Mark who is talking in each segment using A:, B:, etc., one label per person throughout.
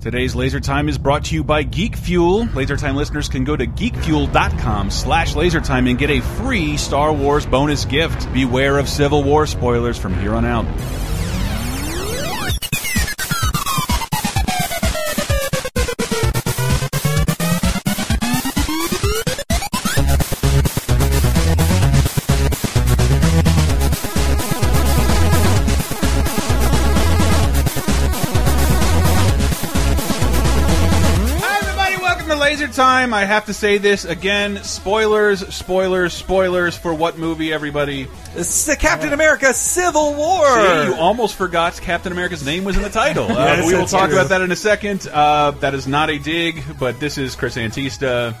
A: Today's Laser Time is brought to you by Geek Fuel. Lasertime listeners can go to geekfuel.com slash lasertime and get a free Star Wars bonus gift. Beware of Civil War spoilers from here on out. Hi, everybody. Welcome to Laser Time. I have to say this again. Spoilers, spoilers, spoilers for what movie, everybody?
B: This is the Captain America Civil War.
A: Hey, you almost forgot Captain America's name was in the title. Uh,
B: Yes,
A: we will
B: that's
A: talk
B: true.
A: about that in a second. Uh, that is not a dig, but this is Chris Antista.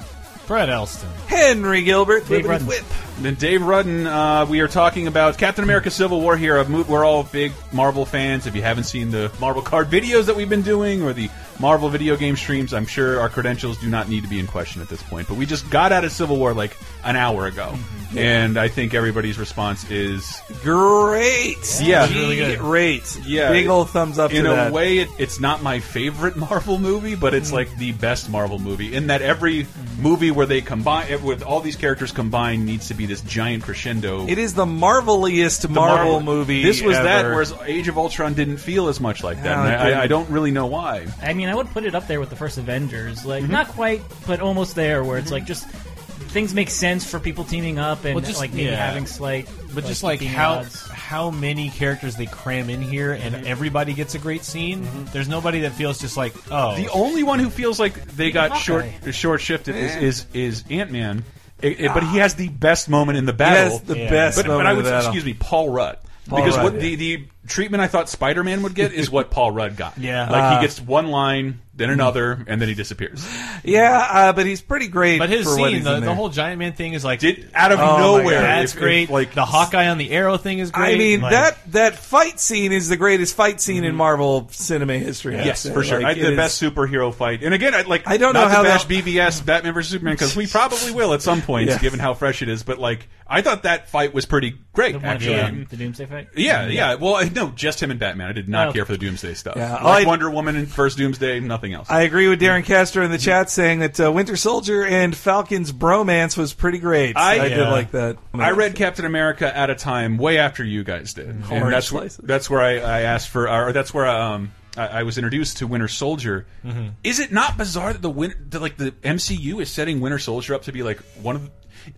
C: Fred Elston.
B: Henry Gilbert,
C: Dave
B: Whippity
C: Rudden.
B: Whip.
A: And Dave Rudden, uh, we are talking about Captain America Civil War here. A mo- We're all big Marvel fans. If you haven't seen the Marvel card videos that we've been doing or the Marvel video game streams, I'm sure our credentials do not need to be in question at this point. But we just got out of Civil War like an hour ago.
B: Mm-hmm.
A: And I think everybody's response is
B: Great.
A: Yeah.
C: It's really good.
B: Great.
A: Yeah.
B: Big old thumbs up
A: in
B: to
A: a
B: that. Mm-hmm.
A: way it, it's not my favorite marvel movie but it's like the best marvel movie in that every movie where they combine with all these characters combined needs to be this giant crescendo
B: It is the marveliest
A: The
B: Marvel, movie.
A: this was that
B: ever.
A: whereas age of ultron didn't feel as much like that
B: No,
A: and
B: it
A: I, I, I
B: didn't.
A: don't really know why
C: I mean, I would put it up there with the first Avengers. Like,
A: Mm-hmm.
C: not quite, but almost there, where it's like just things make sense for people teaming up and
D: Well, just-
C: like maybe
D: yeah.
C: having slight,
D: But just like
C: competing
D: how
C: odds.
D: how many characters they cram in here, and
A: Mm-hmm.
D: everybody gets a great scene. There's nobody that feels just like oh,
A: the only one who feels like they got short short shifted is is, is ant man It- it- but he has the best moment in the battle
B: Yes, the
D: Yeah.
B: best
A: but, but
B: moment
A: I
B: of
A: would
B: the battle.
A: excuse me, Paul Rudd.
B: Paul
A: because
B: Rudd,
A: what the, the treatment I thought Spider Man would get is what Paul Rudd got.
D: Yeah.
A: like
B: Uh,
D: Ah.
A: he gets one line, then another, and then he disappears.
B: Yeah, uh, but he's pretty great.
D: but his
B: for what
D: scene,
B: he's
D: the,
B: in
D: the
B: there.
D: whole giant man thing is like
A: Did out of
B: Oh my
A: nowhere?
B: God.
D: that's
A: if- if,
D: great.
A: like
D: like the Hawkeye on the arrow thing is great. Mm-hmm.
B: I mean
D: like-
B: that that fight scene is the greatest fight scene in Marvel cinema history. I'd
A: Yes,
B: say.
A: for sure.
B: Like,
A: I,
B: it
A: the
B: is-
A: best superhero fight, and again, I like.
B: I don't
A: not
B: know how
A: to bash
B: that-
A: BVS Batman vs Superman because we probably will at some point,
B: Yes.
A: given how fresh it is. But like, I thought that fight was pretty great,
C: the, one at the
A: actually.
C: end, the Doomsday fight.
A: Yeah, yeah. Well, I- no, just him and Batman. I did not
C: Oh.
A: care for the Doomsday stuff.
B: Yeah,
A: like
B: I-
A: Wonder Woman and First Doomsday, nothing else.
B: I agree with Darren Castro in the chat saying that uh, Winter Soldier and Falcon's bromance was pretty great.
A: I-
B: did
D: Yeah.
B: like that.
A: I read Captain America at a time way after you guys did,
D: Mm-hmm.
A: and
B: Orange
A: that's wh-
B: slices.
A: that's where I, I asked for, or that's where um, I, I was introduced to Winter Soldier.
D: Mm-hmm.
A: Is it not bizarre that the win, that like the MCU is setting Winter Soldier up to be like one of the,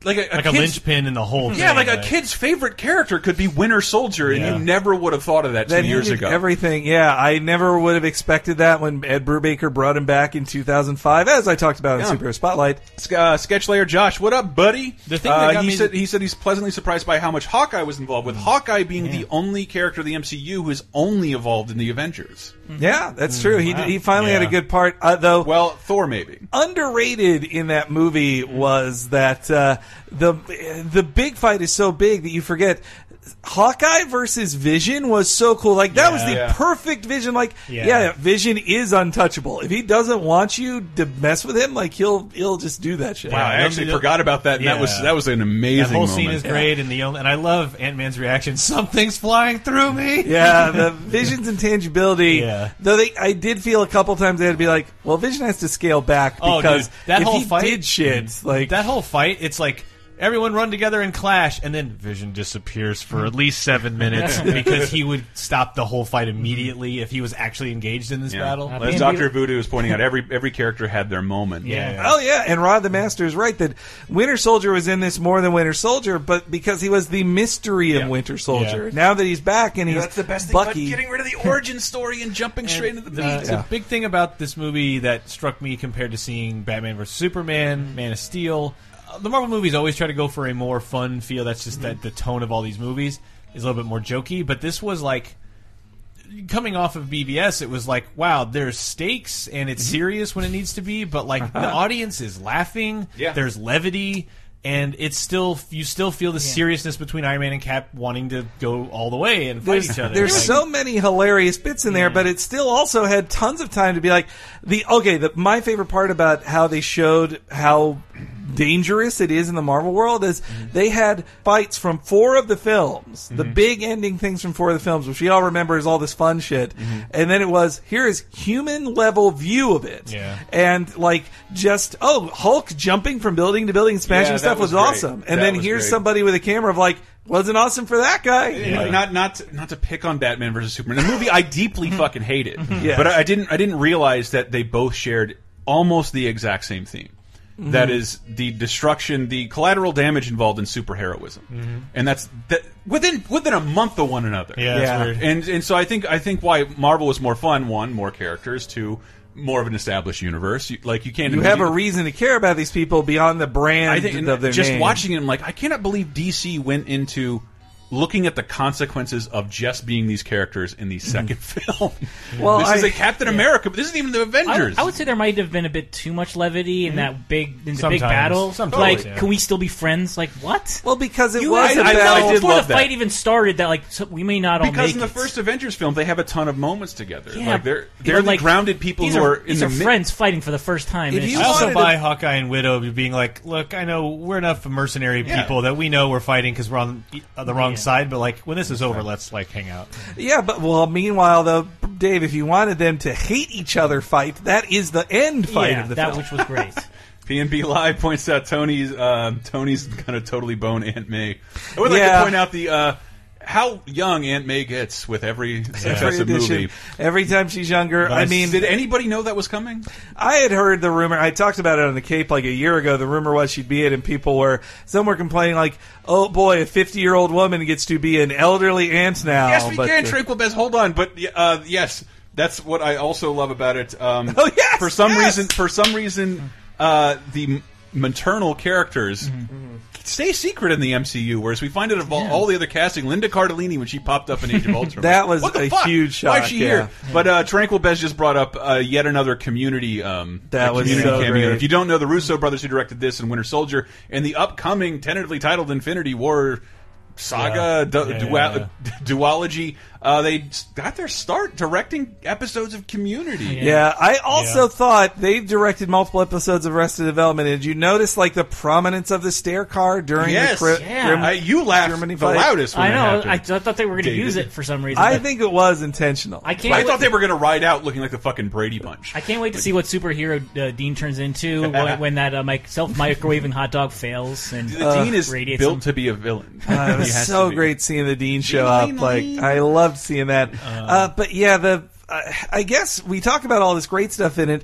A: like a,
D: like a
A: kid's-
D: linchpin in the whole.
A: Yeah,
D: thing,
A: like a kid's favorite character could be Winter Soldier, and you
D: Yeah.
A: never would have thought of that two
B: that
A: years
B: ended
A: ago.
B: Everything, yeah. I never would have expected that when Ed Brubaker brought him back in 2005, as I talked about in
A: Yeah.
B: Superhero Spotlight.
A: uh, sketch layer Josh. What up, buddy?
D: The thing that
A: Uh,
D: got
A: he
D: me- Mm.
A: said he said he's pleasantly surprised by how much Hawkeye was involved with. Hawkeye being the only character of the MCU who is only involved in the Avengers.
B: Yeah, that's true. He
D: wow.
B: he finally had a
D: Yeah.
B: good part, uh, though.
A: Well, Thor maybe.
B: underrated in that movie was that uh, the the big fight is so big that you forget. Hawkeye versus Vision was so cool. Like that was the
A: Yeah.
B: perfect Vision. Like yeah.
D: Yeah.
B: Vision is untouchable. If he doesn't want you to mess with him, like he'll he'll just do that shit.
A: Wow, I
D: Yeah,
A: actually
D: the- the-
A: forgot about that. And That
D: Yeah.
A: was that was an amazing
D: That whole
A: moment.
D: scene is great, and the only, and I love Ant Man's reaction. Something's flying through me.
B: Yeah, the Vision's intangibility.
D: Yeah.
B: Though they, I did feel a couple times they had to be like, well, Vision has to scale back
D: Oh,
B: because
D: dude, that
B: if
D: whole
B: he
D: fight-
B: did shit, like
D: that whole fight, it's like everyone run together and clash, and then Vision disappears for at least seven minutes because he would stop the whole fight immediately if he was actually engaged in this
A: Yeah.
D: battle.
C: Uh,
A: As
C: Andy-
A: Doctor Voodoo is pointing out, every every character had their moment.
C: Yeah.
D: Yeah.
B: Oh yeah, and Rod the Master is right that Winter Soldier was in this more than Winter Soldier, but because he was the mystery of
A: Yeah.
B: Winter Soldier.
D: Yeah.
B: Now that he's back and he's Bucky,
A: rid of the origin story and jumping straight into
D: The, the big thing about this movie that struck me compared to seeing Batman vs
B: Mm-hmm.
D: Superman, Man of Steel, uh, the Marvel movies always try to go for a more fun feel. That's just
B: Mm-hmm.
D: that the tone of all these movies is a little bit more jokey. But this was like coming off of BBS, it was like, wow, there's stakes
B: Mm-hmm.
D: and it's serious when it needs to be, but like the audience is laughing.
A: Yeah.
D: There's levity. And it's still you still feel the seriousness between Iron Man and Cap wanting to go all the way and fight each other.
B: There's
D: Like,
B: so many hilarious bits in there, but it still also had tons of time to be like the okay. The, my favorite part about how they showed how dangerous it is in the Marvel world is
A: Mm-hmm.
B: they had fights from four of the films, the big ending things from four of the films, which we all remember is all this fun shit.
A: Mm-hmm.
B: And then it was here is human level view of it,
D: Yeah.
B: and like just oh Hulk jumping from building to building, and smashing
A: Yeah, that
B: stuff
A: was
B: was,
A: great.
B: awesome. And
A: That
B: then
A: was
B: here's
A: great.
B: somebody with a camera of like wasn't awesome for that guy.
A: Not- Not not to, not to pick on Batman versus Superman, a movie I deeply
D: Mm-hmm.
A: fucking hated.
B: Yes.
A: But I, I didn't I didn't realize that they both shared almost the exact same theme. That
D: Mm-hmm.
A: is the destruction, the collateral damage involved in superheroism, and that's that within within a month of one another.
D: Mm-hmm. Yeah, that's
B: Yeah.
D: weird.
A: And and so I think I think why Marvel was more fun. One, more characters. Two, more of an established universe. You, like you can't
B: You have a
A: imagine-
B: reason to care about these people beyond the brand
A: I think
B: of their
A: just
B: name.
A: watching it, I'm like, I cannot believe DC went into looking at the consequences of just being these characters in
B: Hmm.
A: the second film.
B: Well,
A: this is
B: I-
A: a Captain America, but this isn't even the Avengers. Mm-hmm.
C: I, I would say there might have been a bit too much levity in that big in the
D: Sometimes.
C: big battle.
D: Sometimes,
C: like,
D: yeah.
C: can we still be friends? Like, what?
B: Well, because it
A: You-
B: was
A: I- I- I
B: about
A: did
C: before
A: love that.
C: the fight even started, that like so we may not all
A: because
C: make
A: in the
C: it.
A: first Avengers film, they have a ton of moments together.
C: yeah,
A: like they're
C: you
A: they're
C: know,
A: the
C: like,
A: grounded people
C: these
A: who
C: are,
A: are in
C: these
A: the
C: are
A: mi-
C: friends fighting for the first time.
B: If
C: and
B: you
C: it's
D: I also
B: wanted
D: buy
B: to-
D: Hawkeye and Widow being like, look, I know we're enough mercenary
A: Yeah.
D: people that we know we're fighting because we're on the- uh, the wrong
C: Yeah.
D: side, but like when this is over, let's like hang out.
B: Yeah, but well, meanwhile though, Dave, if you wanted them to hate each other, fight that is the end fight
C: yeah,
B: of the
C: that
B: film.
C: which was great.
A: PNB Live points out Tony's um, Tony's gonna totally bone Aunt May. I would like
B: Yeah.
A: to point out the uh, how young Aunt May gets with every
B: Every
A: successive
B: edition,
A: movie.
B: every time she's younger. I mean,
A: did anybody know that was coming?
B: I had heard the rumor. I talked about it on the Cape like a year ago. The rumor was she'd be it, and people were some were complaining like, "Oh boy, a fifty-year-old woman gets to be an elderly aunt now."
A: Yes, we
B: but
A: can.
B: the-
A: Tranquil Best. Hold on, but uh, yes, that's what I also love about it. Um,
B: Oh, yes,
A: For some
B: yes!
A: reason, for some reason, uh, the m- maternal characters
B: Mm-hmm.
A: stay secret in the MCU, whereas we find it of all, all the other casting. Linda Cardellini when she popped up in Age of Ultron,
B: That was
A: what the
B: a
A: fuck?
B: huge
A: Why is
B: shock,
A: she
B: yeah.
A: here? But uh, Tranquil Bez just brought up uh, yet another community. Um,
B: That
A: a
B: was
A: community
B: so
A: cameo.
B: great.
A: If you don't know the Russo brothers who directed this and Winter Soldier and the upcoming tentatively titled Infinity War saga du-
D: Yeah,
A: dua-
D: yeah, yeah.
A: duology. Uh, they s- got their start directing episodes of Community.
B: Yeah, I also
D: Yeah.
B: thought they directed multiple episodes of Arrested Development. Did you notice like the prominence of the stair car during
A: Yes,
B: the cri-
C: Yeah.
B: grim-
A: Uh, you laughed
B: Germany
A: the
B: fight.
A: loudest. When
C: I know.
A: That
C: I, I
A: happened.
C: thought they were going to
A: Dated.
C: use it for some reason.
B: I
C: but
B: think it was intentional.
C: I can't.
A: I
C: wait-
A: thought they were going to ride out looking like the fucking Brady Bunch.
C: I can't wait to see what superhero uh, Dean turns into when, when that uh, mic- self microwaving hot dog fails and
A: the Dean is
C: radiates
A: built
C: him.
A: to be a villain.
C: Oh,
B: Uh, it
A: He
B: was
A: has to
B: so
A: be.
B: great seeing the dean show
A: Dean,
B: up. Like
A: Dean.
B: I loved seeing that. Uh, but yeah, the uh, I guess we talk about all this great stuff in it.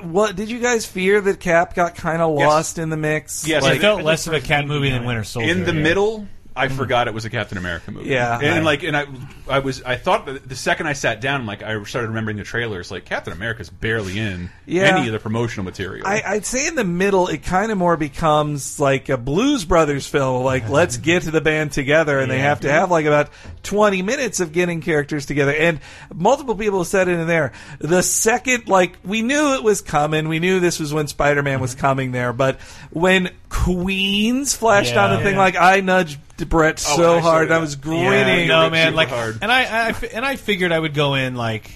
B: What did you guys fear that Cap got kind of
A: Yes.
B: lost in the mix?
A: Yes.
D: Like,
A: Like-
D: it felt less of a cat movie than Winter Soldier.
A: in the
D: yeah.
A: middle I forgot it was a Captain America movie.
B: Yeah.
A: and like, and I, I was, I thought that the second I sat down, like, I started remembering the trailers. Like, Captain America's barely in
B: Yeah.
A: any of the promotional material.
B: I, I'd say in the middle, it kind of more becomes like a Blues Brothers film. Like, let's get to the band together, and they have to have like about 20 minutes of getting characters together. And multiple people said it in there. The second, like, we knew it was coming. We knew this was when Spider Man
D: Mm-hmm.
B: was coming there. But when Queens flashed
D: Yeah.
B: on the thing,
D: Yeah.
B: like, I nudged Brett
A: Oh, I
B: so
A: saw
B: hard.
A: that.
B: I was
D: Yeah,
B: grinning.
D: no
A: Ripped
D: man,
A: super
D: like,
A: hard.
D: and I, I- I fi- and I figured I would go in like,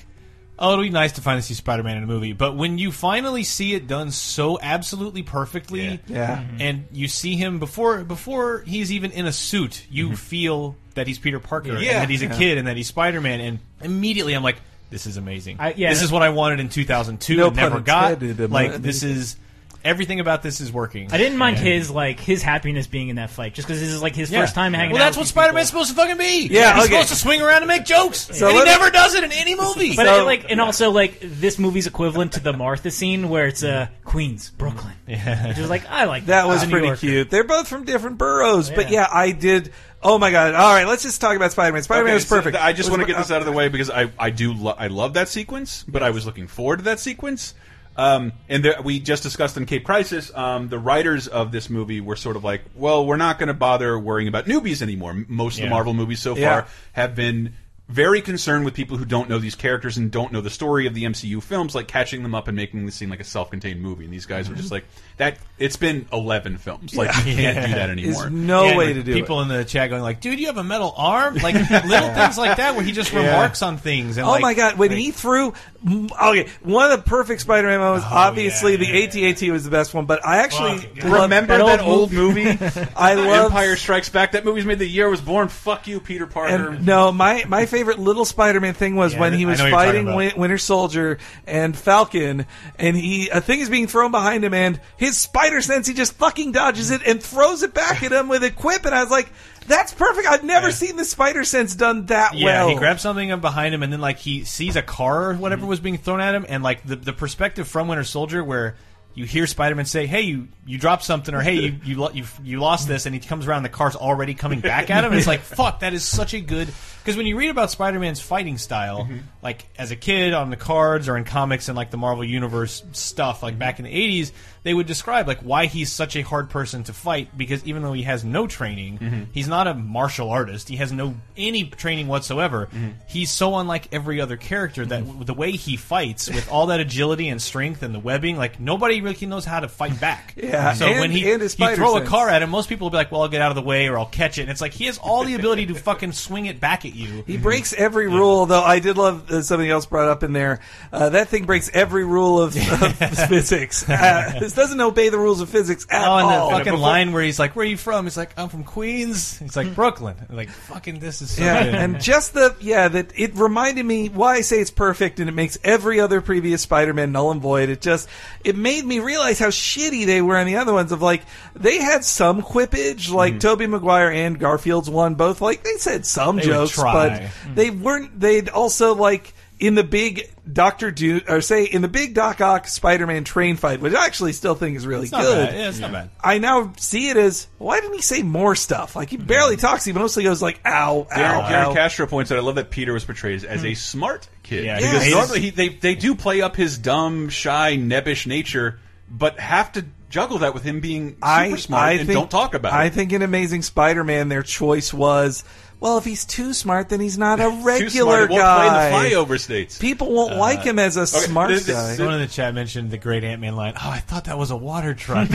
D: oh, it'll be nice to finally see Spider-Man in a movie, but when you finally see it done so absolutely perfectly,
A: Yeah.
B: Yeah.
D: and
C: Mm-hmm.
D: you see him before before he's even in a suit, you feel that he's Peter Parker, and
A: Yeah.
D: that he's a kid, and that he's Spider-Man, and immediately I'm like, this is amazing.
C: I- yeah.
D: this is what I wanted in 2002
B: No
D: and never
B: pun
D: got.
B: intended, am I-
D: Like, this is everything about this is working.
C: I didn't mind his like his happiness being in that fight, just because this is like his
D: Yeah.
C: first time hanging.
D: Well,
C: out
D: that's
C: with
D: what
C: these
D: Spider Man's
C: people.
D: supposed to fucking be.
B: Yeah,
D: he's
B: okay.
D: supposed to swing around and make jokes,
B: So
D: and he
B: let me-
D: never does it in any movie.
C: But
B: So-
C: I, like, and also like this movie's equivalent to the Martha scene where it's uh, Queens, Brooklyn, yeah. which is like I like
A: Uh,
B: That was
C: I'm a New
B: pretty
C: Yorker.
B: cute. They're both from different boroughs, but
C: Yeah.
B: yeah, I did. Oh my god! All right, let's just talk about Spider Man. Spider Man
A: Okay,
B: was
A: so
B: perfect.
A: th- I just
B: Was- uh,
A: want to get this out of the way because I, I do lo I love that sequence, but I was looking forward to that sequence. Um, and there, we just discussed in Cape Crisis, um, the writers of this movie were sort of like, well, we're not going to bother worrying about newbies anymore. M- Most of
D: Yeah.
A: the Marvel movies so
B: Yeah.
A: far have been very concerned with people who don't know these characters and don't know the story of the MCU films, like catching them up and making this seem like a self-contained movie. And these guys were just like that. It's been eleven films. Like you can't do that
B: There's
A: anymore.
B: no
D: And
B: way to do
D: people
B: it.
D: in the chat going like, "Dude, you have a metal arm!" Like little things like that, where he just remarks on things. And
B: Oh
D: like-
B: my god! When
D: like-
B: he threw, mm, okay, one of the perfect Spider-Man
A: Oh,
B: moments. obviously,
D: yeah,
B: the
D: yeah,
B: AT-AT was the best one, but I actually
D: Fuck, yeah.
B: love-
A: Remember that old movie?
B: I love
A: Empire Strikes Back. That movie's made the year I was born. Fuck you, Peter Parker.
B: And no, my my favorite little Spider-Man thing was
D: Yeah,
B: when
D: I
B: he
D: know
B: was
D: what you're talking
B: fighting
D: about.
B: Win- Winter Soldier and Falcon, and he a thing is being thrown behind him, and his spider sense he just fucking dodges it and throws it back at him with a quip, and I was like, "That's perfect! I've never seen the spider sense done that
D: Yeah,
B: well." Mm-hmm.
D: he grabs something up behind him, and then like he sees a car or whatever was being thrown at him, and like the, the perspective from Winter Soldier, where you hear Spider Man say, "Hey, you you dropped something," or "Hey, you you lo- you you lost this," and he comes around, the car's already coming back at him. And it's like, fuck, that is such a good because when you read about Spider Man's fighting style,
B: Mm-hmm.
D: like as a kid on the cards or in comics and like the Marvel Universe stuff, like back in the eighties, they would describe like why he's such a hard person to fight because even though he has no training,
B: Mm-hmm.
D: he's not a martial artist. He has no any training whatsoever.
B: Mm-hmm.
D: He's so unlike every other character that w the way he fights with all that agility and strength and the webbing, like nobody really knows how to fight back.
B: Yeah,
D: So
B: and-
D: when he
B: and his
D: you
B: spider
D: throw a
B: sense.
D: car at him, most people will be like, "Well, I'll get out of the way or I'll catch it." And it's like he has all the ability to fucking swing it back at you.
B: He breaks every rule, though. I did love uh, something else brought up in there. Uh, that thing breaks every rule of, of physics. Uh, this doesn't obey the rules of physics at
D: Oh, and
B: all.
D: the fucking line where he's like, "Where are you from?" He's like, "I'm from Queens." He's like, "Brooklyn." I'm like, fucking, this is so
B: Yeah,
D: good.
B: and just the yeah that it reminded me why I say it's perfect, and it makes every other previous Spider-Man null and void. It just it made me realize how shitty they were on the other ones. Of like they had some quippage, like
D: Mm-hmm.
B: Toby Maguire and Garfield's one, both like they said some
D: would
B: jokes,
D: try. Mm-hmm.
B: but they weren't. They'd also like. In the big Doctor Doom, or say in the big Doc Ock Spider-Man train fight, which I actually still think is really
D: It's not
B: good.
D: bad. Yeah, it's not bad.
B: I now see it as why didn't he say more stuff? Like he
A: Mm.
B: barely talks. He mostly goes like ow, ow,
A: Darren, Darren
B: ow.
A: Castro points out, I love that Peter was portrayed as
B: Hmm.
A: a smart kid.
D: Yeah,
A: because
B: Yes.
A: normally he, they, they do play up his dumb, shy, nebbish nature, but have to juggle that with him being super smart and don't talk about
B: I
A: it.
B: think in Amazing Spider-Man, their choice was, well, if he's too smart, then he's not
A: Too
B: a
A: smart,
B: regular
A: it won't
B: guy.
A: play in the flyover states.
B: People won't like him as a smart
A: Uh, this-
B: guy.
A: this-
D: Someone in the chat mentioned the great Ant Man line. Oh, I thought that was a water truck.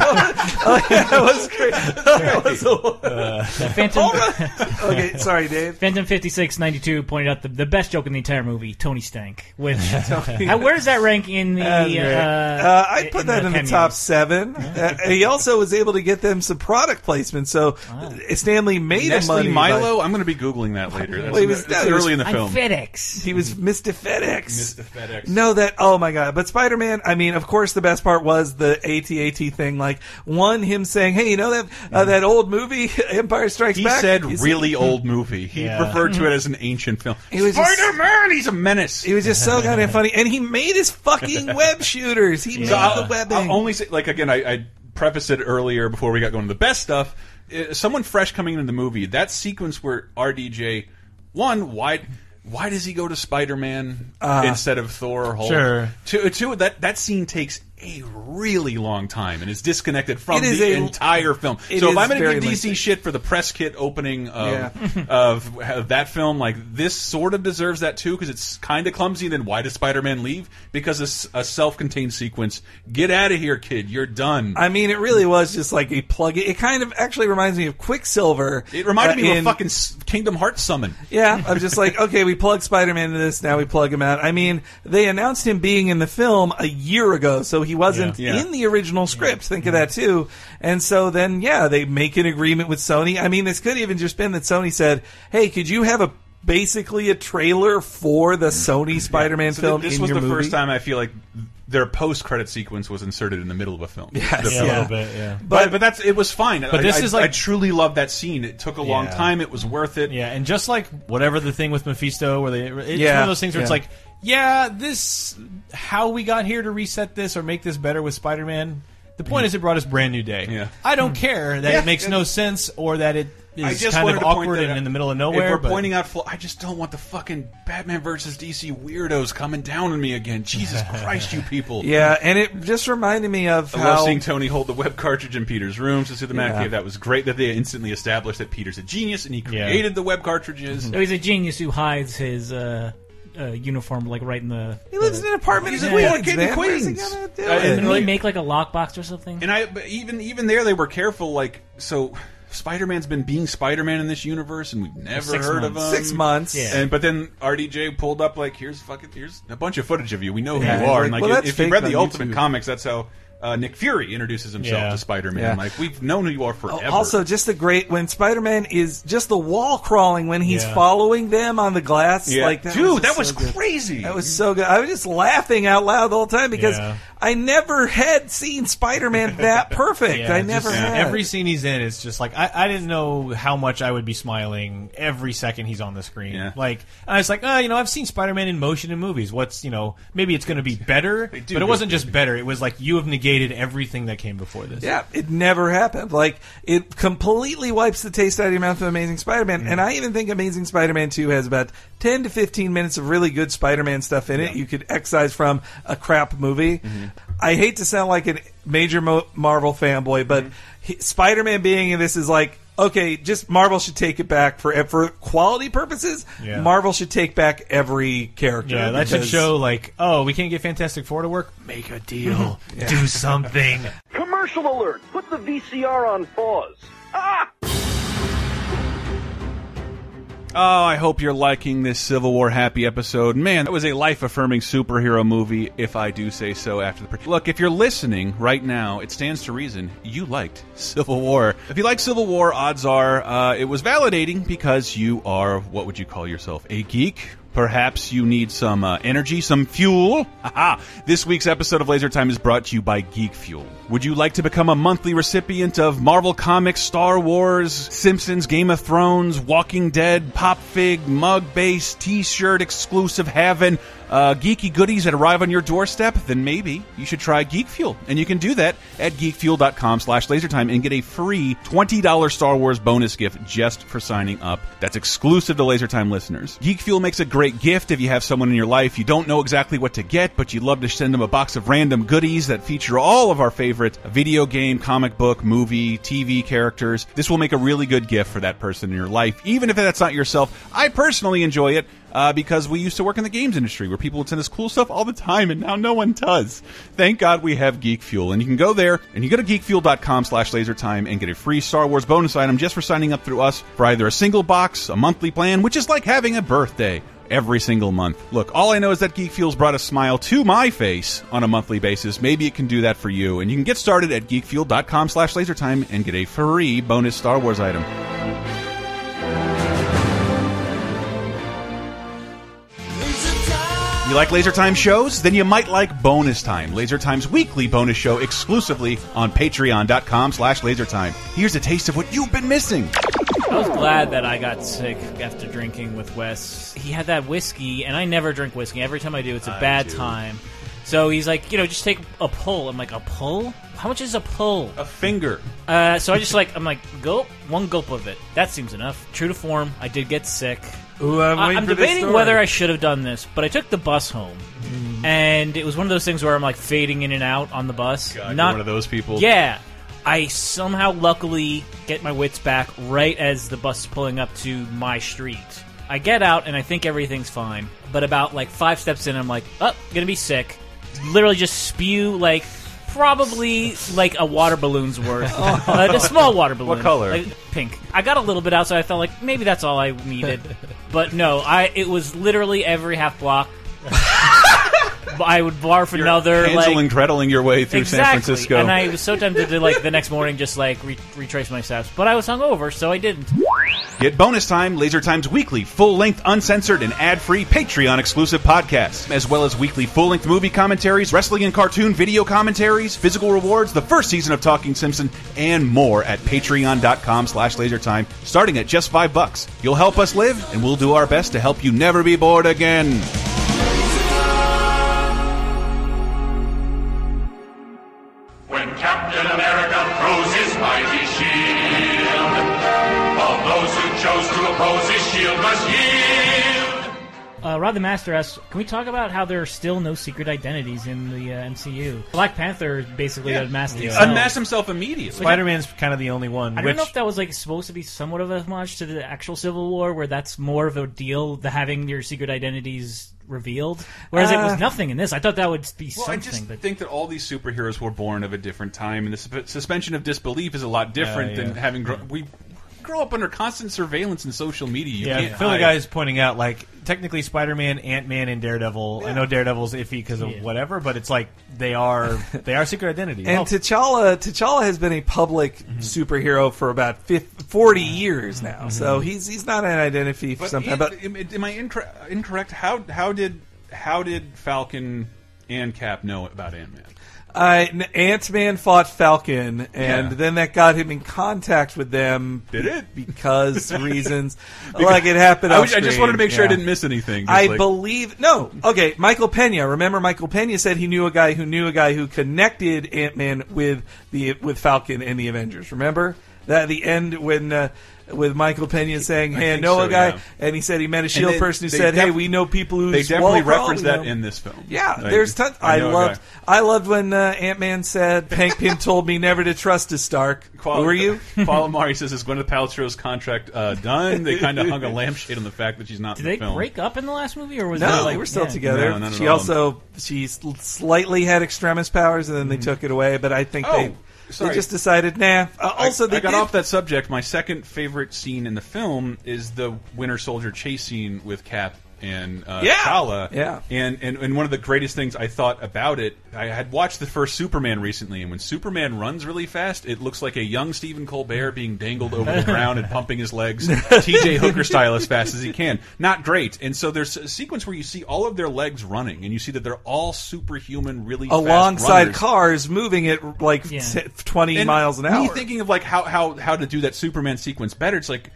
B: oh, yeah, that was great. That was a-
C: Phantom,
B: okay, sorry, Dave.
C: Phantom 5692 pointed out the, the best joke in the entire movie, Tony Stank. Which, how, where does that rank in the.
B: That's great.
C: Uh,
B: Uh, I'd put that in the
C: cameos?
B: top seven. Uh, he also was able to get them some product placement, so Stanley made him
A: Nestle
B: money. by-
A: Milo, I'm going to be Googling that later. That's,
B: Well, he was-
A: that's
B: he was-
A: early in the
C: I'm
A: film.
C: FedEx.
B: He was Mr. FedEx.
A: Mr. Mm-hmm. FedEx.
B: No, that oh my god! But Spider Man, I mean, of course, the best part was the ATAT thing. Like one, him saying, "Hey, you know that uh, that old movie, Empire Strikes
A: Mm-hmm. He
B: Back."
A: said
B: He's-
A: really old movie. He
D: Yeah.
A: referred to it as an ancient film.
B: Hmm. He was just-
A: Spider-Man, he's a menace.
B: It was just so goddamn funny, and he made his fucking web shooters. He
A: So
B: made the
A: I'll,
B: webbing.
A: I'll only say, like again, I, I prefaced it earlier before we got going to the best stuff. Uh, Someone fresh coming into the movie, that sequence where RDJ, one, why, why does he go to Spider Man
B: Uh,
A: instead of Thor or Hulk?
D: Sure.
A: Two, two, that that scene takes a really long time and is disconnected from
B: It is
A: the
B: a-
A: entire film.
B: it
A: So
B: is
A: if I'm going to
B: very
A: give DC
B: lengthy.
A: shit for the press kit opening of, of of that film, like this sort of deserves that too because it's kind of clumsy. Then why does Spider Man leave? Because it's a self-contained sequence. Get out of here, kid. You're done.
B: I mean, it really was just like a plug. It kind of actually reminds me of Quicksilver.
A: it reminded
B: uh,
A: me of a
B: in-
A: fucking s- Kingdom Hearts summon.
B: Yeah, I'm just like, okay, we plug Spider-Man into this, now we plug him out. I mean, they announced him being in the film a year ago, so he wasn't
A: Yeah. Yeah.
B: in the original script. Think of that too. And so then, yeah, they make an agreement with Sony. I mean, this could even just been that Sony said, "Hey, could you have a basically a trailer for the Sony Spider-Man
A: So
B: film
A: th- this
B: in
A: was
B: your
A: the
B: movie?"
A: first time I feel like their post-credit sequence was inserted in the middle of a film. The
B: Yes,
D: a
A: film.
B: yeah.
D: little bit, yeah.
A: But, but that's it was fine. But
D: this is like-
A: I truly love that scene. It took a long
D: Yeah.
A: time. It was worth it.
D: Yeah, and just like whatever the thing with Mephisto, where they it's
B: Yeah,
D: one of those things where it's
B: yeah.
D: like, yeah, this how we got here to reset this or make this better with Spider Man. The point is, it brought us brand new day.
A: Mm. Yeah.
D: I don't care that it makes no sense or that it is
A: I just
D: kind
A: wanted
D: of
A: to point
D: awkward
A: that
D: and
A: out.
D: in the middle of
A: If
D: nowhere.
A: we're
D: but
A: pointing out, flaw, I just don't want the fucking Batman versus DC weirdos coming down on me again. Jesus Christ, you people!
B: Yeah, and it just reminded me of
A: I
B: how
A: love seeing Tony hold the web cartridge in Peter's room to see the Mac
B: Yeah.
A: cave. That was great that they instantly established that Peter's a genius and he created the web cartridges.
B: Mm-hmm.
C: So he's a genius who hides his uh, uh, uniform like right in the.
B: he lives in an apartment
A: He's
B: in
A: a
B: Queens.
A: little kid in
B: man. What is he
A: Queens.
B: gonna do?
A: Uh,
C: Didn't
A: like-
C: he make like a lockbox or something?
A: And I, but even even there, they were careful. Like so, Spider-Man's been being Spider-Man in this universe, and we've never
C: six
A: heard of him.
B: Six months.
C: Yeah.
A: And but then RDJ pulled up like here's fucking here's a bunch of footage of you. We know who
B: Yeah.
A: you are. And like
B: Well, that's
A: if you
B: fake
A: read the
B: on
A: Ultimate
B: YouTube.
A: Comics, that's how uh, Nick Fury introduces himself
D: Yeah.
A: to Spider-Man.
B: Yeah. Oh,
A: Like we've known who you are forever.
B: Also, just the great when Spider Man is just the wall crawling when he's
D: Yeah.
B: following them on the glass.
A: yeah.
B: Like that
A: dude,
B: was
A: that
B: so
A: was
B: good.
A: crazy.
B: That was so good. I was just laughing out loud the whole time because
D: Yeah.
B: I never had seen Spider Man that perfect.
D: Yeah,
B: I
D: just-
B: never
D: yeah.
B: had.
D: Every scene he's in is just like I, I didn't know how much I would be smiling every second he's on the screen.
A: Yeah.
D: Like I was like, oh, you know, I've seen Spider-Man in motion in movies. What's you know, maybe it's going to be better, but
A: do
D: it
A: do
D: wasn't just better. It was like you have negated everything that came before this.
B: Yeah, it never happened. Like it completely wipes the taste out of your mouth of Amazing Spider-Man,
D: Mm.
B: and I even think Amazing Spider-Man Two has about ten to fifteen minutes of really good Spider-Man stuff in it. You could excise from a crap movie.
D: Mm-hmm.
B: I hate to sound like a major Mo- Marvel fanboy,
D: Mm-hmm.
B: but he- Spider-Man being in this is like. Okay, just Marvel should take it back for for quality purposes.
D: Yeah.
B: Marvel should take back every character.
D: Yeah, that should
B: because-
D: show like, oh, we can't get Fantastic Four to work. Make a deal, do something.
E: Commercial alert! Put the VCR on pause. Ah!
A: Oh, I hope you're liking this Civil War happy episode. Man, that was a life affirming superhero movie, if I do say so after the. pre- Look, if you're listening right now, it stands to reason you liked Civil War. If you like Civil War, odds are uh, it was validating because you are, what would you call yourself? A geek? Perhaps you need some uh, energy, some fuel. Haha. This week's episode of Laser Time is brought to you by Geek Fuel. Would you like to become a monthly recipient of Marvel Comics, Star Wars, Simpsons, Game of Thrones, Walking Dead, Pop Fig, Mug Base, T-shirt exclusive heaven, uh, geeky goodies that arrive on your doorstep? Then maybe you should try Geek Fuel, and you can do that at geekfuel.com/lasertime and get a free twenty dollars Star Wars bonus gift just for signing up. That's exclusive to Laser Time listeners. Geek Fuel makes a great gift if you have someone in your life you don't know exactly what to get, but you'd love to send them a box of random goodies that feature all of our favorite video game, comic book, movie, TV characters. This will make a really good gift for that person in your life, even if that's not yourself. I personally enjoy it uh, because we used to work in the games industry where people would send us cool stuff all the time, and now no one does. Thank God we have Geek Fuel, and you can go there and you go to geekfuel.com/lasertime and get a free Star Wars bonus item just for signing up through us for either a single box, a monthly plan, which is like having a birthday. Every single month. Look, all I know is that Geek Fuel's brought a smile to my face on a monthly basis. Maybe it can do that for you. And you can get started at geekfuel.com slash lasertime and get a free bonus Star Wars item. You like Laser Time shows? Then you might like Bonus Time, Laser Time's weekly bonus show exclusively on patreon.com slash lasertime. Here's a taste of what you've been missing.
C: I was glad that I got sick after drinking with Wes. He had that whiskey, and I never drink whiskey. Every time I do, it's a bad time. So he's like, you know, just take a pull. I'm like, a pull? How much is a pull?
A: A finger.
C: Uh, so I just like, I'm like, gulp, one gulp of it. That seems enough. True to form, I did get sick.
B: Ooh, I'm,
C: I-
B: waiting
C: I'm
B: for this
C: debating
B: story.
C: whether I should have done this, but I took the bus home,
A: Mm-hmm.
C: and it was one of those things where I'm like fading in and out on the bus. Not
A: one of those people.
C: yeah. I somehow luckily get my wits back right as the bus is pulling up to my street. I get out and I think everything's fine, but about like five steps in, I'm like, oh, gonna be sick. Literally just spew like probably like a water balloon's worth, Uh, a small water balloon.
A: What color?
C: Like, pink. I got a little bit out, so I felt like maybe that's all I needed, but no, I it was literally every half block. I would barf
A: You're
C: another
A: Hansel
C: like
A: and Greteling your way through
C: exactly.
A: San Francisco.
C: And I was so tempted to like the next morning just like re- retrace my steps, but I was hungover, so I didn't.
A: Get bonus time, Laser Time's weekly, full length, uncensored, and ad free Patreon exclusive podcasts, as well as weekly full length movie commentaries, wrestling and cartoon video commentaries, physical rewards, the first season of Talking Simpson, and more at patreon.com slash lasertime, starting at just five bucks. You'll help us live, and we'll do our best to help you never be bored again.
F: When Captain America throws his mighty shield, a Those who chose to oppose his shield must yield.
C: Uh, Rod the Master asks, "Can we talk about how there are still no secret identities in the uh, MCU? Black Panther basically unmasked himself.
A: Unmasked himself immediately.
D: Spider Man's kind of the only one.
C: I
D: which,
C: don't know if that was like supposed to be somewhat of a homage to the actual Civil War, where that's more of a deal, the having your secret identities revealed. Whereas it
B: Uh,
C: was nothing in this. I thought that would be
A: Well, I
C: something,
A: just
C: but
A: think that all these superheroes were born of a different time, and the sus- suspension of disbelief is a lot different
D: Yeah, Hmm. yeah.
A: than having grown. We grow up under constant surveillance and social media. You
D: yeah,
A: can't
D: Philly
A: hide.
D: guy's pointing out like technically Spider Man, Ant Man, and Daredevil. I know Daredevil's iffy because of
C: Yeah.
D: whatever, but it's like they are they are secret identities.
B: And T'Challa, T'Challa has been a public
A: Mm-hmm.
B: superhero for about 50, 40 years now, so he's he's not an identity for
A: But
B: something.
A: am-
B: But
A: am, am I incor- incorrect? How how did how did Falcon and Cap know about Ant Man?
B: uh, Ant Man fought Falcon, and
A: Yeah.
B: then that got him in contact with them.
A: Did it?
B: Because reasons, like it happened.
A: I,
B: off
A: was- I just
B: screen,
A: wanted to make sure I
B: yeah.
A: didn't miss anything. Just
B: I
A: like-
B: believe no. Okay, Michael Pena. Remember, Michael Pena said he knew a guy who knew a guy who connected Ant Man with the with Falcon and the Avengers. Remember that at the end when uh, with Michael Pena saying, "Hey, I
A: think
B: know a
A: so,
B: guy,"
A: yeah.
B: and he said he met a Shield
A: they-
B: E person who
A: they
B: said,
A: def-
B: "Hey, we know people who
A: they definitely reference that in this film.
B: Yeah,
A: Like,
B: there's tons. I,
A: know a
B: loved.
A: guy.
B: I loved when uh, Ant Man said, "Hank Pym told me never to trust a Stark."
A: Qual-
B: Who are you?
A: Paul Amari says, "Is Gwyneth Paltrow's contract uh, done?" They kind of hung a lampshade on the fact that she's not. in
C: did
A: the
C: they
A: film.
C: break up in the last movie, or was
B: No,
C: it like,
B: they were still
C: yeah.
B: together.
A: No, not at
B: she
A: all.
B: also she s- slightly had extremis powers, and then
A: Mm-hmm.
B: they took it away. But I think
A: Oh,
B: they
A: sorry.
B: they just decided, nah. Uh,
A: I-
B: also, they
A: I got
B: did-
A: off that subject. My second favorite scene in the film is the Winter Soldier chase scene with Cap and uh,
B: Yeah.
A: T'Challa.
B: Yeah.
A: And, and and one of the greatest things I thought about it, I had watched the first Superman recently, and when Superman runs really fast, it looks like a young Stephen Colbert being dangled over the ground and pumping his legs, T.J. Hooker style, as fast as he can. Not great. And so there's a sequence where you see all of their legs running, and you see that they're all superhuman, really fast
B: alongside
A: runners.
B: cars moving at like
C: Yeah.
B: t- twenty
A: And
B: miles an hour.
A: Me thinking of like how how how to do that Superman sequence better. It's like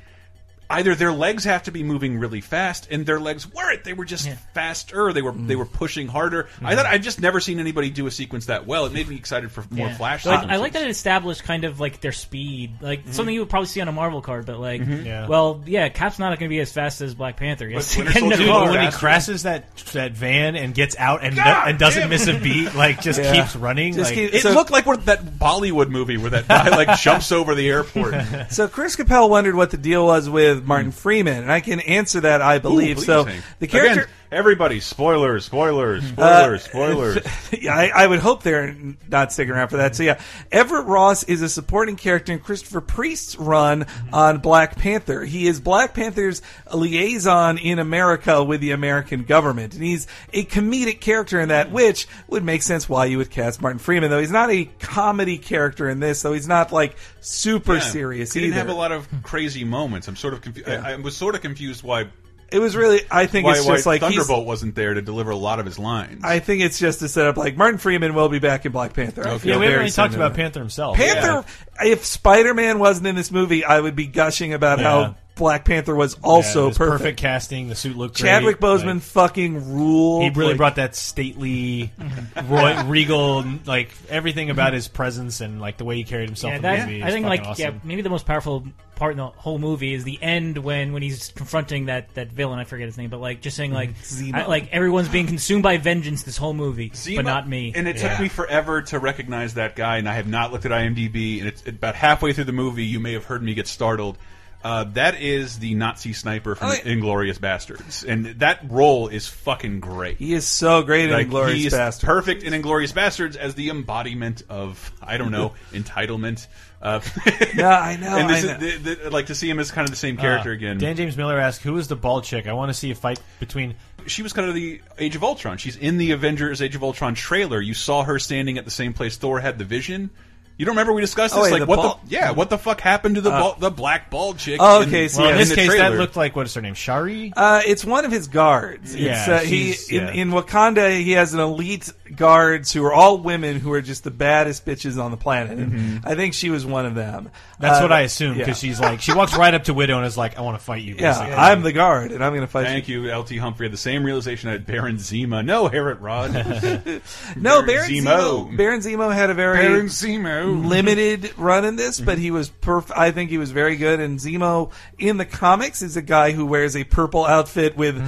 A: either their legs have to be moving really fast, and their legs weren't. They were just faster. They were they
B: Mm.
A: were pushing harder.
B: Mm-hmm.
A: I thought I'd just never seen anybody do a sequence that well. It made me excited for more
C: Yeah.
A: Flash. Mm-hmm.
C: Like, I
A: sequences.
C: like that it established kind of like their speed, like something you would probably see on a Marvel card. But like,
A: Mm-hmm.
D: Yeah.
C: well, yeah, Cap's not going to be as fast as Black Panther. Yes,
A: Winter
C: in the
A: Soldier
D: Dude,
A: Car.
D: when he
A: Faster.
D: crashes that that van and gets out and
A: God
D: and doesn't
A: damn.
D: miss a beat, like just
B: Yeah.
D: keeps running.
B: Just
D: like,
B: keep-
A: It
B: So-
A: looked like we're that Bollywood movie where that guy like jumps over the airport.
B: So Chris Capel wondered what the deal was with
A: Mm.
B: Martin Freeman, and I can answer that. I
A: Ooh,
B: believe
A: please,
B: so.
A: Hank.
B: The character.
A: Again, everybody, spoilers, spoilers,
B: Uh,
A: spoilers, spoilers.
B: yeah, I, I would hope they're not sticking around for that. So yeah, Everett Ross is a supporting character in Christopher Priest's run on Black Panther. He is Black Panther's liaison in America with the American government, and he's a comedic character in that, which would make sense why you would cast Martin Freeman. Though he's not a comedy character in this, so he's not like super
A: Yeah.
B: serious
A: He
B: either.
A: didn't have a lot of crazy moments. I'm sort of confused. I, I was sort of confused why
B: it was really, I think,
A: why,
B: it's
A: why
B: just like he's-
A: Thunderbolt wasn't there to deliver a lot of his lines.
B: I think it's just to set up like Martin Freeman will be back in Black Panther. I
A: Okay.
B: feel
D: yeah, we
B: very
D: haven't really
B: soon
D: talked about
B: that.
D: Panther himself.
B: Panther. If Spider Man wasn't in this movie, I would be gushing about
D: Yeah.
B: how Black Panther was
D: Yeah,
B: also
D: it's
B: perfect.
D: casting. The suit looked great.
B: Chadwick Boseman
D: like-
B: fucking ruled.
D: he really
B: Like,
D: brought that stately, roy, regal, like everything about his presence and like the way he carried himself.
C: Yeah,
D: in
C: that,
D: the movie
C: I
D: is
C: think
D: fucking
C: like yeah,
D: awesome.
C: maybe the most powerful part in the whole movie is the end when when he's confronting that that villain. I forget his name, but like just saying like I- like everyone's being consumed by vengeance this whole movie,
A: Zemo-
C: but not me.
A: And it took
D: Yeah.
A: me forever to recognize that guy, and I have not looked at IMDb. And it's about halfway through the movie, you may have heard me get startled. Uh, that is the Nazi sniper from
B: Oh, yeah.
A: Inglorious Bastards, and that role is fucking great.
B: He is so great in
A: Like,
B: Glorious
A: he's
B: Bastard.
A: perfect in Inglorious Bastards as the embodiment of I don't know entitlement. Uh,
B: No, I know,
A: And this
B: I know.
A: is the, the, like to see him as kind of the same character
D: Uh,
A: again.
D: Dan James Miller asked, "Who is the bald chick? I want to see a fight between."
A: she was kind of the Age of Ultron. She's in the Avengers Age of Ultron trailer. You saw her standing at the same place Thor had the vision. You don't remember we discussed
B: Oh,
A: this? like
B: wait, the
A: what
B: bald-
A: the Uh, yeah? What the fuck happened to the bal- the black bald chick?
B: Oh, okay, so
D: Well,
B: Yeah,
D: in
B: in
D: this
A: the
D: case, that
A: trailer?
D: looked like what is her name? Shari.
B: Uh, it's one of his guards.
D: Yeah,
B: It's, uh, he
D: she's-
B: in,
D: yeah.
B: in Wakanda. He has an elite guards who are all women who are just the baddest bitches on the planet. And I think she was one of them.
D: Mm-hmm. That's
B: Uh,
D: what I assume
B: yeah.
D: because she's like she walks right up to Widow and is like, "I want to fight you."
B: Yeah,
D: basically.
B: I'm the guard, and I'm going to fight you.
A: Thank you, LT Humphrey. Had the same realization I had Baron Zemo. No, Herod Rod.
B: No,
A: Baron
B: Baron
A: Zemo.
B: Zemo. Baron Zemo had a very
A: Zemo.
D: Mm-hmm.
B: limited run in this, but he was perf- I think he was very good. And Zemo in the comics is a guy who wears a purple outfit with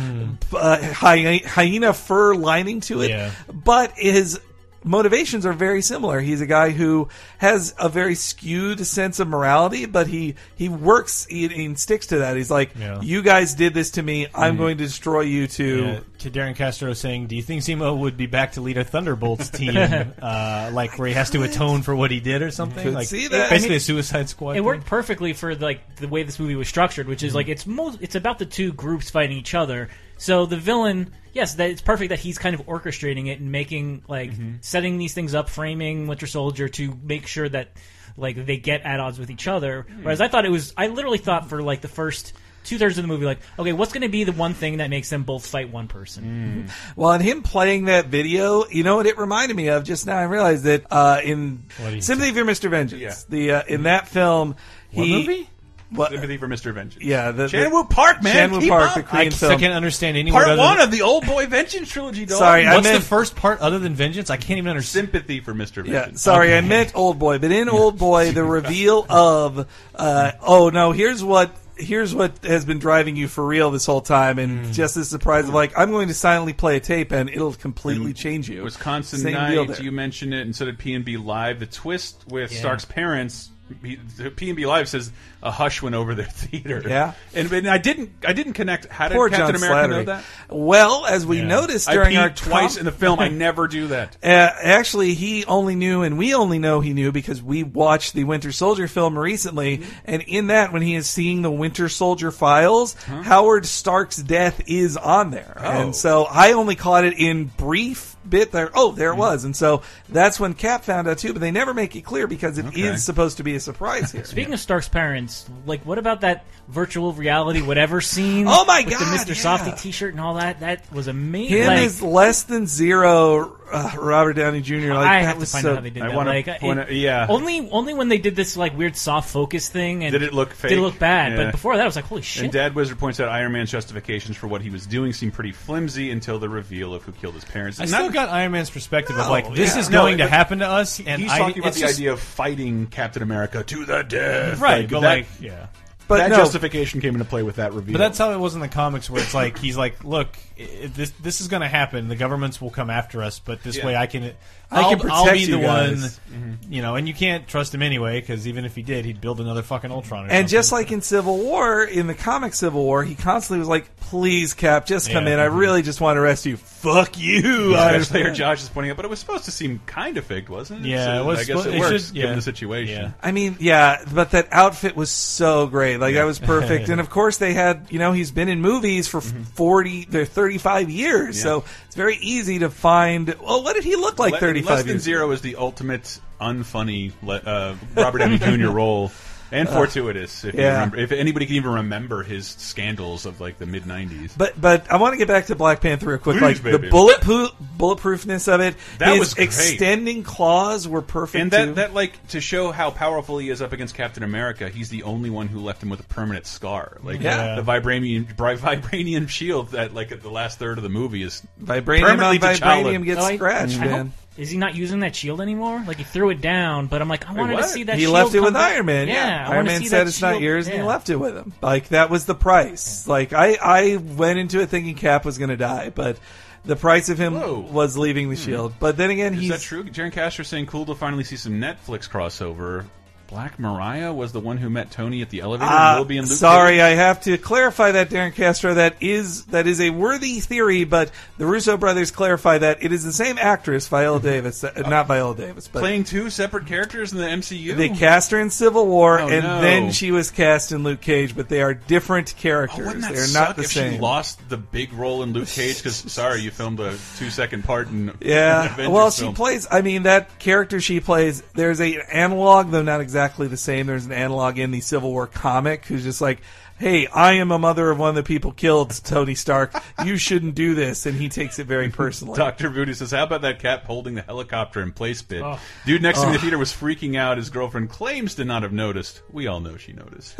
B: uh, hy- hyena fur lining to it,
D: Mm. Yeah.
B: but his motivations are very similar. He's a guy who has a very skewed sense of morality, but he he works he, he sticks to that. He's like,
D: Yeah. Mm.
B: you guys did this to me. I'm going to destroy you too.
D: Uh, to Darren Castro saying, "Do you think Zemo would be back to lead a Thunderbolts team, uh, like where he has to atone for what he did or something?
B: could
D: like
B: see that.
D: basically a Suicide Squad."
C: It
D: thing?
C: worked perfectly for like the way this movie was structured, which
B: Mm-hmm.
C: is like it's most it's about the two groups fighting each other. So the villain, yes, that it's perfect that he's kind of orchestrating it and making like
B: Mm-hmm.
C: setting these things up, framing Winter Soldier to make sure that like they get at odds with each other.
B: Hmm.
C: Whereas I thought it was I literally thought for like the first two thirds of the movie, like okay, what's going to be the one thing that makes them both fight one person?
B: Hmm. Well, and him playing that video, you know what it reminded me of? Just now I realized that uh, in
D: do you
B: Sympathy for Mr. Vengeance,
A: Yeah.
B: the uh, in that film, he,
D: movie?
B: What,
A: Sympathy for Mr. Vengeance.
B: yeah, the, the-
A: Chanwoo Park, man.
B: Chan-wook
A: keep
B: Park,
A: up.
B: the
D: I
B: Korean
D: still
B: film.
D: can't understand anyone.
A: Part
D: other
A: one
D: than,
A: of the old boy Vengeance trilogy, dog.
B: Sorry, I
D: What's
B: meant
D: the first part other than Vengeance? I can't even understand.
A: Sympathy for Mr.
B: Yeah,
A: Vengeance.
B: sorry, I meant Old Boy, but in Old Boy, the reveal of uh, oh no, here's what here's what has been driving you for real this whole time, and
A: Mm.
B: just this surprise of like I'm going to silently play a tape and it'll completely change you.
A: Mm. Wisconsin
B: Same deal
A: Night,
B: there.
A: you mentioned it, and so did P&B Live. The twist with Stark's parents, he- the P&B Live says a hush went over their theater.
B: Yeah.
A: And, and I didn't I didn't connect. How did
B: Poor
A: Captain
B: John
A: America know
B: Slattery.
A: that?
B: Well, as we
D: Yeah.
B: noticed
A: I
B: during
A: peed
B: our
A: twice
B: com-
A: in the film. I never do that.
B: Uh, actually, he only knew, and we only know he knew because we watched the Winter Soldier film recently.
A: Mm-hmm.
B: And in that, when he is seeing the Winter Soldier files,
A: Uh-huh.
B: Howard Stark's death is on there.
A: Oh.
B: And so I only caught it in brief bit there. Oh, there it
A: Mm-hmm.
B: was. And so that's when Cap found out too, but they never make it clear because it is supposed to be a surprise here.
C: Speaking of Stark's parents, like what about that virtual reality whatever scene?
B: Oh my
C: with
B: God,
C: the Mr.
B: yeah.
C: Softy T-shirt and all that. That was amazing.
B: Him
C: Like,
B: is less than zero, uh, Robert Downey Jr. Like,
C: I
B: that
C: have to
B: was
C: find
B: so
C: out how they did
A: I
C: that.
A: wanna
C: like, it-
A: wanna- yeah.
C: Only, only when they did this like weird soft focus thing and
A: Did it look
C: Did
A: fake?
C: it look bad?
A: Yeah.
C: But before that, I was like, holy
A: And
C: shit!
A: Dad Wizard points out Iron Man's justifications for what he was doing seemed pretty flimsy until the reveal of who killed his parents.
D: I
A: And
D: still
A: not-
D: got Iron Man's perspective of like this
A: yeah.
D: is
A: No,
D: going to
A: but
D: happen to us, and
A: He's
D: I,
A: talking about
D: it's
A: the
D: just-
A: idea of fighting Captain America to the death.
D: right? But
A: that,
D: like, yeah.
B: But
A: that
B: no,
A: justification came into play with that reveal.
D: But that's how it was in the comics, where it's like he's like, "Look, i- i- this this is going to happen. The governments will come after us, but this
A: Yeah.
D: way I can,
B: I
D: I'll,
B: can protect
D: I'll be
B: you
D: the
B: guys."
D: one, you know." And you can't trust him anyway, because even if he did, he'd build another fucking Ultron. Or
B: And
D: something.
B: just like in Civil War, in the comic Civil War, he constantly was like, "Please, Cap, just come
D: Yeah.
B: in.
A: Mm-hmm.
B: I really just want to rescue. Fuck you."
A: Josh
B: honestly.
A: Slayer Josh is pointing out, but it was supposed to seem kind of faked, wasn't it?
D: Yeah,
A: So
D: it was
A: I guess
D: supposed-
A: it
D: it
A: works
D: should- yeah.
A: given the situation.
B: I mean, yeah, but that outfit was so great. Like that was perfect. and of course, they had you know he's been in movies for
A: Mm-hmm.
B: forty, they're thirty-five years, so it's very easy to find. Well, what did he look like
A: Le-
B: thirty-five
A: Less than
B: years?
A: zero is the ultimate unfunny le- uh, Robert Downey Jr. role. And fortuitous, if, you
B: yeah.
A: remember, if anybody can even remember his scandals of like the mid '90s.
B: But but I want to get back to Black Panther real quick.
A: Please,
B: like the
A: baby.
B: bulletproof bulletproofness of it.
A: That
B: his
A: was great.
B: extending claws were perfect.
A: and that,
B: too.
A: that like to show how powerful he is up against Captain America, he's the only one who left him with a permanent scar. Like
B: Yeah.
A: the vibranium bri- vibranium shield that like at the last third of the movie is
B: vibranium on
A: permanently
B: vibranium
A: T'Challa.
B: gets
C: So I-
B: scratched,
C: I hope-
B: man.
C: is he not using that shield anymore? Like he threw it down, but I'm like, I wanted to
A: what?
C: see that.
B: he
C: shield
B: left it
C: come
B: with
C: back.
B: Iron Man. Yeah,
C: I
B: Iron
C: wanna
B: Man
C: see
B: said
C: that
B: it's not
C: shield-
B: yours, and he
C: yeah.
B: left it with him. Like that was the price. Like I, I went into it thinking Cap was going to die, but the price of him
A: Whoa. Hmm.
B: was leaving the Shield. But then again,
A: Is
B: he's
A: that true? Jaren Castro saying cool to finally see some Netflix crossover. Black Mariah was the one who met Tony at the elevator.
B: Ah,
A: and will be in Luke
B: sorry,
A: Cage.
B: I have to clarify that, Darren Castro. That is that is a worthy theory, but the Russo brothers clarify that it is the same actress,
A: Mm-hmm.
B: Viola Davis, uh, not Viola Davis, but
A: playing two separate characters in the MCU.
B: They cast her in Civil War,
A: Oh,
B: and
A: no.
B: then she was cast in Luke Cage, but they are different
A: Oh,
B: characters.
A: wouldn't that
B: they are
A: suck
B: not the
A: if
B: same.
A: she lost the big role in Luke Cage? Because sorry, you filmed a two-second part in an
B: yeah.
A: Avengers
B: Well, she
A: film.
B: plays. I mean, that character she plays. There's a analog, though not exactly the same. There's an analog in the Civil War comic who's just like, "Hey, I am a mother of one of the people killed, Tony Stark. you shouldn't do this," and he takes it very personally.
A: Dr. Voodoo says, How about that cap holding the helicopter in place bit? Dude next to me in the theater was freaking out. His girlfriend claims to not have noticed. We all know she noticed.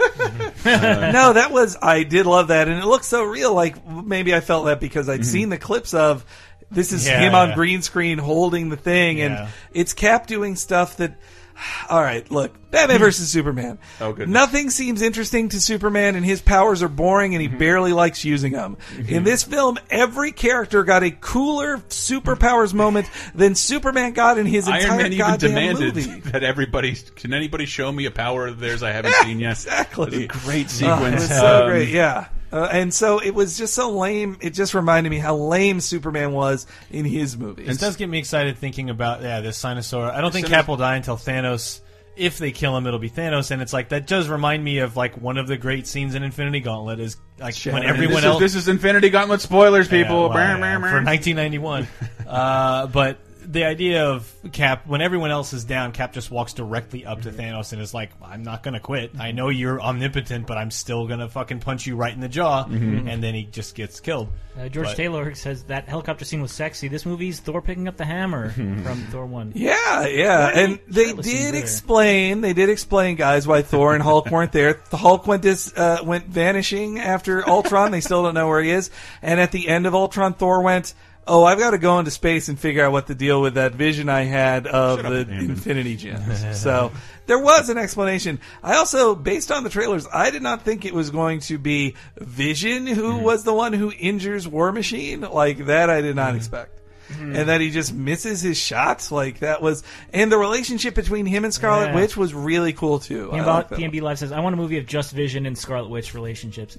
B: no, that was I did love that, and it looked so real. Like maybe I felt that because
A: Mm-hmm.
B: I'd seen the clips of this is
D: Yeah,
B: him on
D: yeah.
B: green screen holding the thing,
D: Yeah.
B: and it's Cap doing stuff that. All right, look, Batman versus Superman.
A: Hmm. Oh, goodness.
B: Nothing seems interesting to Superman, and his powers are boring, and he
A: Mm-hmm.
B: barely likes using them. In this film, every character got a cooler superpowers moment than Superman got in his
A: Iron
B: entire
A: Man even
B: goddamn
A: demanded
B: movie.
A: that everybody can anybody show me a power of theirs I haven't seen yet.
B: Exactly.
A: It was a great
B: Oh, it
A: sequence.
B: was so
A: Um,
B: great, yeah. Uh, and so it was just so lame. It just reminded me how lame Superman was in his movie.
D: This does get me excited thinking about yeah, this Sinosaur. I don't think
A: Sinos-
D: Cap will die until Thanos. If they kill him, it'll be Thanos, and it's like that does remind me of like one of the great scenes in Infinity Gauntlet is like when
B: Shattering.
A: This
D: everyone
A: is,
D: else.
A: this is Infinity Gauntlet spoilers, people.
D: Yeah, well,
A: Brr,
D: yeah,
A: brr, brr.
D: for 1991. uh, but the idea of Cap, when everyone else is down, Cap just walks directly up
A: Mm-hmm.
D: to Thanos and is like, "I'm not gonna quit. I know you're omnipotent, but I'm still gonna fucking punch you right in the jaw."
A: Mm-hmm.
D: And then he just gets killed.
C: Uh, George
D: But-
C: Taylor says that helicopter scene was sexy. This movie's Thor picking up the hammer from Thor One.
B: Yeah, yeah, and they
C: That seems
B: did
C: better.
B: explain. They did explain, guys, why Thor and Hulk weren't there. The Hulk went dis, uh, went vanishing after Ultron. they still don't know where he is. And at the end of Ultron, Thor went, "Oh, I've got to go into space and figure out what the deal with that vision I had of the Infinity Gems." so there was an explanation. I also, based on the trailers, I did not think it was going to be Vision who was the one who injures War Machine like that. I did not expect and that he just misses his shots. Like that was, and the relationship between him and Scarlet
C: Yeah.
B: Witch was really cool too. I like that
C: PMB Live says, "I want a movie of just Vision and Scarlet Witch relationships."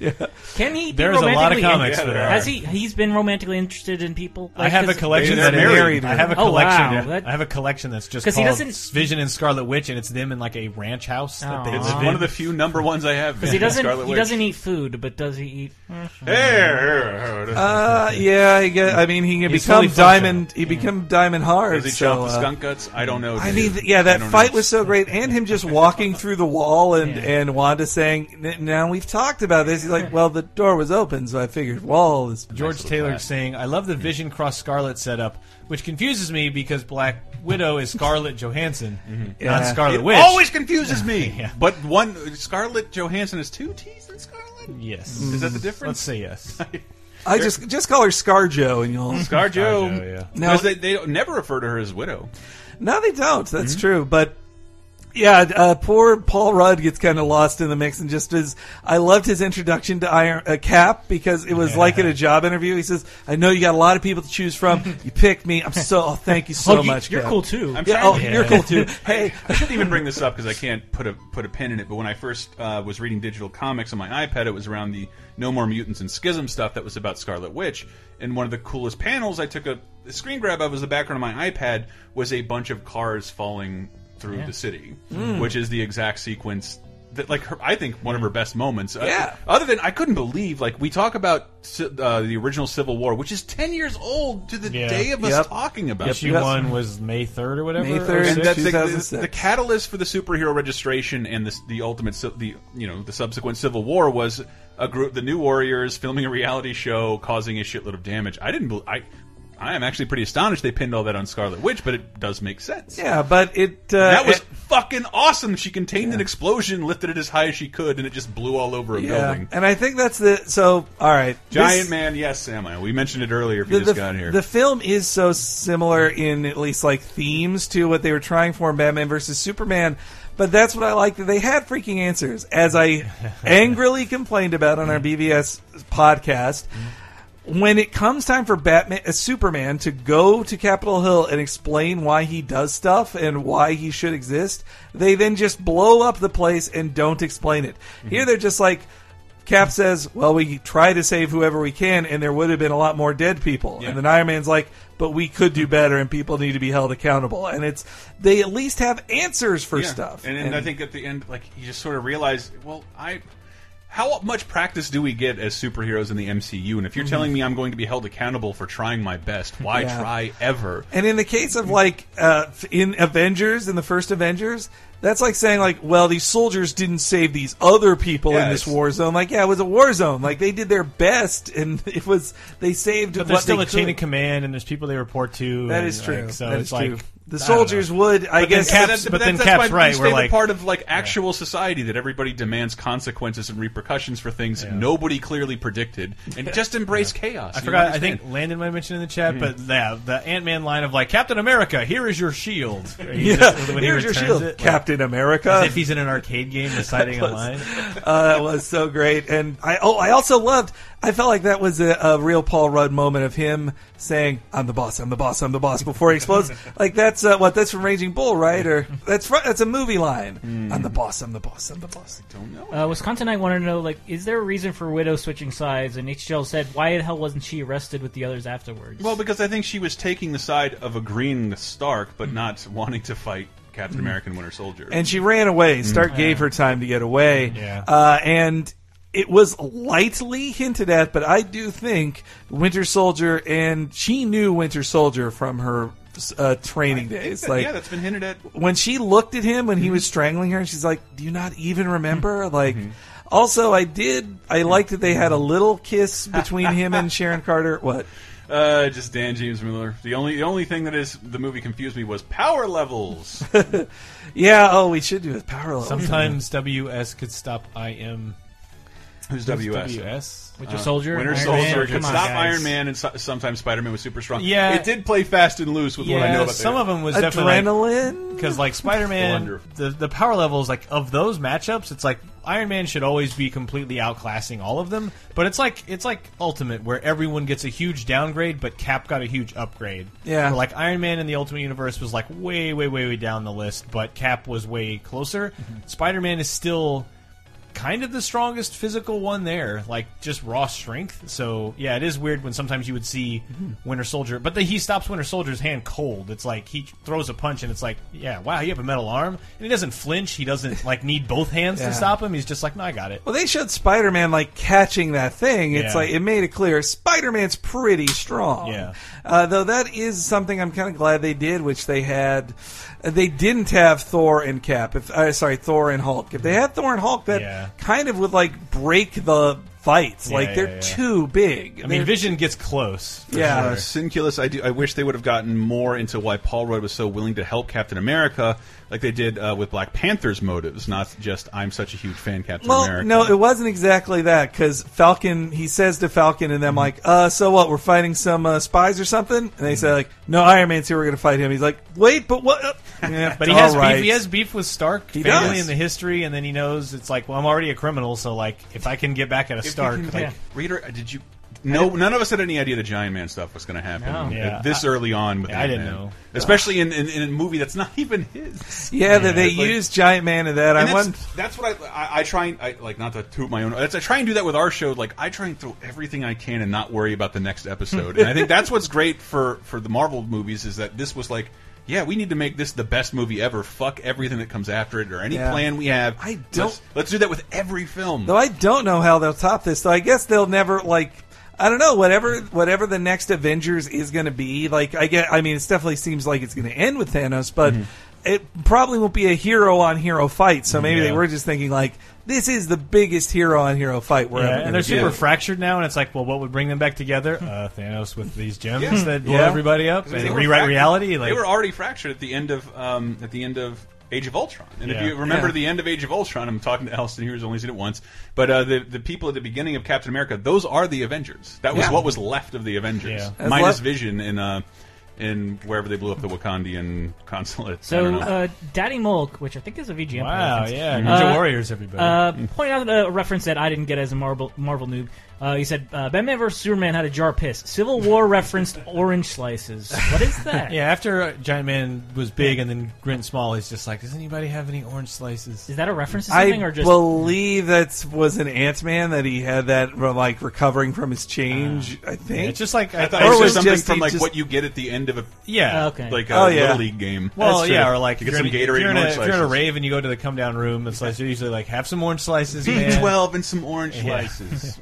C: Can he? be
D: There's a lot of
C: romantically in-
D: comics Yeah, there
C: Has
D: are.
C: he? He's been romantically interested in people.
D: I have a collection.
A: They're
D: that is-
A: married.
D: I have a
C: Oh,
D: collection.
C: wow. That-
D: I have a collection that's just
C: 'Cause he
D: called
C: doesn't-
D: Vision and Scarlet Witch, and it's them in like a ranch house. that they
C: Aw.
A: It's
D: live in.
A: one of the few number ones I have.
C: Because he doesn't.
A: Scarlet
C: He
A: Witch.
C: doesn't eat food, but does he eat?
A: Hey,
B: Uh, yeah, I guess. I mean, he can
D: He's
B: become
D: fully functional.
B: diamond. He become diamond hard.
A: Does he
B: so,
A: chop the
B: uh,
A: skunk guts? I don't know.
B: I
A: dude.
B: mean, th- yeah,
A: I
B: that
A: don't
B: fight
A: know.
B: was so great, and him just walking through the wall, and
C: Yeah.
B: and Wanda saying, "N- "Now we've talked about this." He's like, "Well, the door was open, so I figured wall is."
D: George Taylor saying, "I love the Vision cross Scarlet setup, which confuses me because Black Widow is Scarlett Johansson, not
B: Mm-hmm. Yeah.
D: Scarlet
A: It
D: Witch."
A: always confuses me.
D: Yeah.
A: But one Scarlett Johansson has two T's in Scarlett.
D: yes.
B: Mm-hmm.
A: Is that the
B: Mm,
D: Let's
A: difference?
D: say yes.
B: I just just call her ScarJo, and you'll
A: ScarJo.
D: ScarJo, yeah.
B: Now-
A: Because they, they don't- never refer to her as widow.
B: No, they don't. That's true. But yeah, uh, poor Paul Rudd gets kind of lost in the mix and just is. I loved his introduction to Iron uh, Cap because it was like at a job interview. He says, "I know you got a lot of people to choose from. You picked me. I'm so oh, thank you so
C: oh, you-
B: much.
C: You're
B: Cap."
C: cool too.
A: I'm
B: Yeah,
A: trying
B: oh,
A: to-
B: you're cool too. Hey,
A: I shouldn't even bring this up because I can't put a put a pin in it. But when I first uh, was reading digital comics on my iPad, it was around the No More Mutants and Schism stuff that was about Scarlet Witch. And one of the coolest panels I took a, a screen grab of as the background of my iPad was a bunch of cars falling through the city,
B: Hmm.
A: which is the exact sequence. That, like her, I think one of her best moments. Uh,
B: Yeah.
A: other than I couldn't believe, like we talk about ci- uh, the original Civil War, which is ten years old to the
D: Yeah.
A: day of us
B: Yep.
A: talking about. it.
D: Issue
B: Yes.
D: one was May third or whatever.
B: May
D: or
B: 3rd.
D: sixth.
A: And that, the, the,
B: 2006.
A: the catalyst for the superhero registration and the, the ultimate, ci- the you know, the subsequent Civil War was a group, the New Warriors, filming a reality show, causing a shitload of damage. I didn't, bel- I, I am actually pretty astonished they pinned all that on Scarlet Witch, but it does make sense.
B: yeah, but it uh,
A: That was
B: it-
A: fucking awesome. She contained an explosion, lifted it as high as she could, and it just blew all over a
B: yeah,
A: building.
B: and I think that's the so. All right,
A: Giant
B: this-
A: Man, yes, Samuel. We mentioned it earlier. If you
B: the,
A: just
B: the-
A: got here,
B: the film is so similar in at least like themes to what they were trying for in Batman versus Superman, but that's what I like that they had freaking answers. As I angrily complained about on our BVS podcast,
A: Mm-hmm.
B: when it comes time for Batman, uh, Superman to go to Capitol Hill and explain why he does stuff and why he should exist, they then just blow up the place and don't explain it.
A: Mm-hmm.
B: Here they're just like. Cap says, "Well, we try to save whoever we can, and there would have been a lot more dead people." And then Iron Man's like, "But we could
A: Mm-hmm.
B: do better, and people need to be held accountable." And it's they at least have answers for
A: Yeah.
B: stuff.
A: And, and, I think at the end, like you just sort of realize, well, I. How much practice do we get as superheroes in the MCU? And if you're telling me I'm going to be held accountable for trying my best, why
B: Mm-hmm. Yeah.
A: try ever?
B: And in the case of like uh, in Avengers, in the first Avengers, that's like saying like, well, these soldiers didn't save these other people
A: Yeah,
B: in this
A: it's-
B: war zone. Like, yeah, it was a war zone. Like they did their best, and it was they saved.
D: But
B: what
D: there's still
B: they
D: a chain
B: could.
D: of command, and there's people they report to.
B: That
D: and,
B: is true.
D: like, so
B: That
D: it's
B: is
D: like
B: true. the soldiers would, I
D: But then
B: guess,
D: Cap's-
A: That's-
D: but then
A: that's-
D: Cap's
A: that's my
D: right,
A: least
D: we're
A: favorite
D: like-
A: part of like actual society that everybody demands consequences and repercussions for things nobody clearly predicted, and just embrace chaos.
D: I
A: You
D: forgot. I
A: understand.
D: think Landon might mention in the
B: Hmm.
D: chat, but yeah, the Ant Man line of like Captain America, here is your shield. He
B: yeah,
D: just- when he
B: here's your
D: returns
B: shield,
D: it, like,
B: Captain America.
D: as if he's in an arcade game reciting a line.
B: uh, it was so great. And I oh, I also loved. I felt like that was a, a real Paul Rudd moment of him saying, "I'm the boss, I'm the boss, I'm the boss" before he explodes. like that's uh, what that's from Raging Bull, right? Or that's fr- that's a movie line.
A: Hmm.
B: I'm the boss, I'm the boss, I'm the boss.
C: Uh, Wisconsin, I want to know, like, is there a reason for Widow switching sides? And HGL said, why the hell wasn't she arrested with the others afterwards?
A: Well, because I think she was taking the side of agreeing with Stark,
D: Hmm.
A: but not wanting to fight Captain America and Winter Soldier.
B: And she ran
A: Hmm.
B: away. Stark gave her time to get away.
D: Yeah.
B: Uh, and it was lightly hinted at, but I do think Winter Soldier and she knew Winter Soldier from her uh, training days. Like
A: yeah, that's been hinted at.
B: when she looked at him when
D: Mm-hmm.
B: he was strangling her, and she's like, "Do you not even remember?" Like,
D: Mm-hmm.
B: also, I did. I liked that they had a little kiss between him and Sharon Carter. What?
A: Uh, just Dan James Miller. The only the only thing that is the movie confused me was power levels.
B: Yeah. Oh, we should do a power level.
D: Sometimes WS could stop IM.
A: Who's WS?
D: WS?
C: Winter Soldier?
A: uh, Winter
C: Iron
A: Soldier
C: Man,
A: could
C: come on,
A: stop
C: guys.
A: Iron Man and so sometimes Spider Man was super strong.
D: Yeah.
A: it did play fast and loose with what I know
D: Yeah,
A: about
D: some
A: the-
D: of them was definitely
B: Adrenaline.
D: because like Spider Man,
A: Wonderful.
D: the the power levels like of those matchups, it's like Iron Man should always be completely outclassing all of them. But it's like it's like Ultimate where everyone gets a huge downgrade, but Cap got a huge upgrade.
B: Yeah.
D: Where, like Iron Man in the Ultimate Universe was like way way way way down the list, but Cap was way closer.
B: Mm-hmm.
D: Spider Man is still kind of the strongest physical one there, like just raw strength. So yeah, it is weird when sometimes you would see
B: Mm-hmm.
D: Winter Soldier, but then he stops Winter Soldier's hand cold. It's like he throws a punch, and it's like, yeah, wow, you have a metal arm, and he doesn't flinch. He doesn't like need both hands
B: Yeah.
D: to stop him. He's just like, no, I got it.
B: Well, they showed Spider Man like catching that thing. It's
D: Yeah.
B: like it made it clear Spider Man's pretty strong.
D: Yeah.
B: Uh, though that is something I'm kind of glad they did, which they had. They didn't have Thor and Cap. If uh, sorry, Thor and Hulk. If they had Thor and Hulk, that
D: Yeah.
B: kind of would like break the fights. like
D: yeah,
B: they're
D: yeah.
B: too big.
D: I mean, Vision gets close. for
B: Yeah.
A: Uh, Sinculus, I do. I wish they would have gotten more into why Paul Rudd was so willing to help Captain America, like they did uh, with Black Panther's motives, not just "I'm such a huge fan, Captain
B: well,
A: America."
B: no, it wasn't exactly that because Falcon. He says to Falcon
A: Mm-hmm.
B: and them like, "Uh, so what? We're fighting some uh, spies or something?" And they
A: Mm-hmm.
B: say like, "No, Iron Man's here. We're going to fight him." He's like, "Wait, but what?" uh, yeah,
D: But he
B: all
D: has
B: right.
D: beef. He has beef with Stark
B: He
D: family
B: does.
D: and the history, and then he knows it's like, well, I'm already a criminal, so like, if I can get back at a
A: If you
D: Stark,
A: can-
D: like,
A: reader, uh, did you? No, none of us had any idea the Giant Man stuff was going to happen
C: No.
A: uh,
D: Yeah.
A: this early on. With
D: Yeah, I didn't
A: Ant-Man.
D: know.
A: especially in, in, in a movie that's not even his.
B: Yeah, that they
A: it's like-
B: use Giant Man in that.
A: And
B: I
A: that's,
B: won.
A: that's what I, I, I try and I, like not to toot my own. That's, I try and do that with our show. Like I try and throw everything I can and not worry about the next episode. and I think that's what's great for for the Marvel movies is that this was like, yeah, we need to make this the best movie ever. Fuck everything that comes after it or any
B: Yeah.
A: plan we have.
B: I don't-
A: Let's, let's do that with every film.
B: Though I don't know how they'll top this. Though I guess they'll never like. I don't know. Whatever, whatever the next Avengers is going to be, like I get. I mean, it definitely seems like it's going to end with Thanos, but
D: Mm-hmm.
B: it probably won't be a hero on hero fight. So maybe they
D: Yeah.
B: were just thinking like, this is the biggest hero on hero fight we're ever.
D: Yeah,
B: gonna
D: Uh, and they're
B: do.
D: super fractured now, and it's like, well, what would bring them back together? Uh, Thanos with these gems
A: Yeah.
D: that blow
B: Yeah.
D: everybody up
A: They
D: and
A: were
D: rewrite
A: fractured-
D: reality. Like,
A: they were already fractured at the end of um, at the end of Age of Ultron. And if
D: Yeah.
A: you remember
B: Yeah.
A: the end of Age of Ultron, I'm talking to Elston here who's only seen it once. But uh, the the people at the beginning of Captain America, those are the Avengers. That was
B: Yeah.
A: what was left of the Avengers,
D: Yeah.
B: That's
A: minus
B: left-
A: Vision in uh, in wherever they blew up the Wakandian consulate. I
C: So,
A: don't know.
C: uh, Daddy Mulk, which I think is a VGM.
D: wow,
C: reference,
D: yeah, Ninja
C: Uh,
D: Warriors, everybody.
C: Uh, point out a reference that I didn't get as a Marvel Marvel noob. Uh, he said uh, Batman vs Superman had a jar of piss. Civil War referenced orange slices. What is that?
D: yeah, after uh, Giant Man was big and then Grint Small, he's just like, does anybody have any orange slices?
C: Is that a reference to
B: I
C: something or just?
B: believe that was an Ant Man that he had that from, like recovering from his change. I think.
D: Uh, It's just like I,
A: I thought
D: I
A: it
B: or
A: was,
B: was
A: something
B: just-
A: from like
B: just-
A: what you get at the end of a
D: yeah,
C: Oh, okay.
A: like a
B: Oh, yeah.
A: little league game.
D: Well,
B: That's true.
D: yeah, or like
A: You
D: if
A: get
D: you're
A: some
D: in-
A: Gatorade
D: If you're,
A: and
D: in a,
A: orange
D: if you're in a
A: slices.
D: rave and you go to the come down room, it's like they're usually like, have some orange slices, man.
A: Twelve and some orange slices.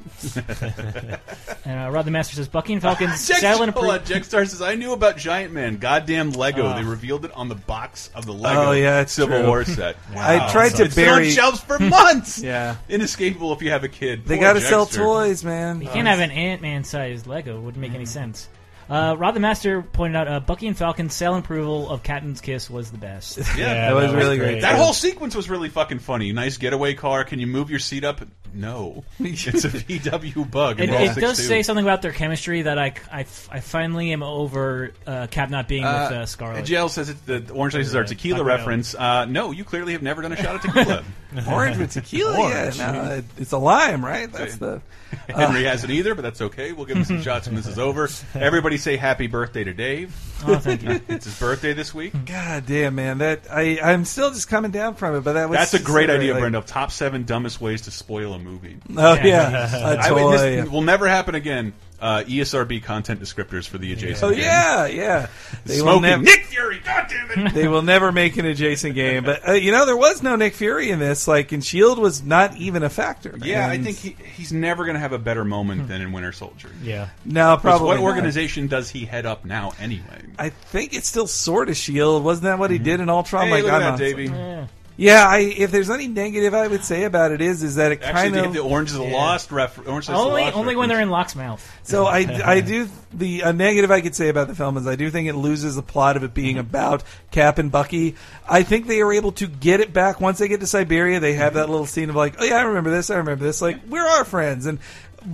C: And, uh, Rod the Master says Bucky and Falcon
A: Jack,
C: sail in a
A: hold
C: pre-
A: on, Jack Star says, I knew about Giant Man. Goddamn Lego. they revealed it on the box of the Lego
B: Oh, yeah, it's
A: Civil
B: true.
A: War set.
B: I tried to
A: It's been on
B: bury.
A: shelves for months.
B: Yeah.
A: Inescapable if you have a kid.
B: They
A: got to
B: sell toys, man.
C: You can't have an Ant Man sized Lego. Wouldn't make any sense. Uh, Rob the Master pointed out uh, Bucky and Falcon's silent approval of Captain's Kiss was the best.
B: That was really great.
A: That whole sequence was really fucking funny. Nice getaway car. Can you move your seat up? No, it's a VW bug.
C: It,
A: in Roll
C: it
A: 62.
C: does say something about their chemistry that I, I, I finally am over uh, Cap not being with uh, Scarlet.
A: JL says it, the orange slices are tequila
C: Fucking
A: reference. Uh, no, you clearly have never done a shot of tequila.
B: Orange with tequila. Yeah, no, it- it's a lime, right? That's the.
A: Henry hasn't either, but that's okay. We'll give him some shots when this is over. Everybody say happy birthday to Dave.
C: Oh, thank you.
A: It's his birthday this week.
B: God damn, man. That I I'm still just coming down from it, but that was.
A: That's a
B: just
A: great
B: very,
A: idea,
B: like-
A: Brendo. Top seven dumbest ways to spoil a movie.
B: Oh yeah, a
A: I mean,
B: toy.
A: this will never happen again. Uh, ESRB content descriptors for the adjacent.
B: Oh
A: game.
B: yeah, yeah. They will
A: smoking
B: never.
A: Nick Fury. God damn it!
B: they will never make an adjacent game, but uh, you know there was no Nick Fury in this. Like, and Shield E was not even a factor.
A: Yeah, I
B: And-
A: think he, he's never going to have a better moment than in Winter Soldier.
D: Yeah.
A: Because
B: no, Hmm. probably
A: what
B: not.
A: organization does he head up now, anyway?
B: I think it's still sort of Shield. E Wasn't that what he did in Ultron?
A: Mm-hmm. hey,
B: like,
A: look
B: I'm
A: at that,
B: not-
A: Davey.
B: Yeah, I, if there's any negative I would say about it is, is that it
A: Actually,
B: kind
A: the,
B: of
A: the Orange is a Lost reference. Orange is the
C: only
A: Lost
C: only
A: reference.
C: when they're in Locke's mouth.
B: So I, I do the a negative I could say about the film is I do think it loses the plot of it being about Cap and Bucky. I think they are able to get it back once they get to Siberia. They have that little scene of like, oh yeah, I remember this, I remember this. Like we're our friends, and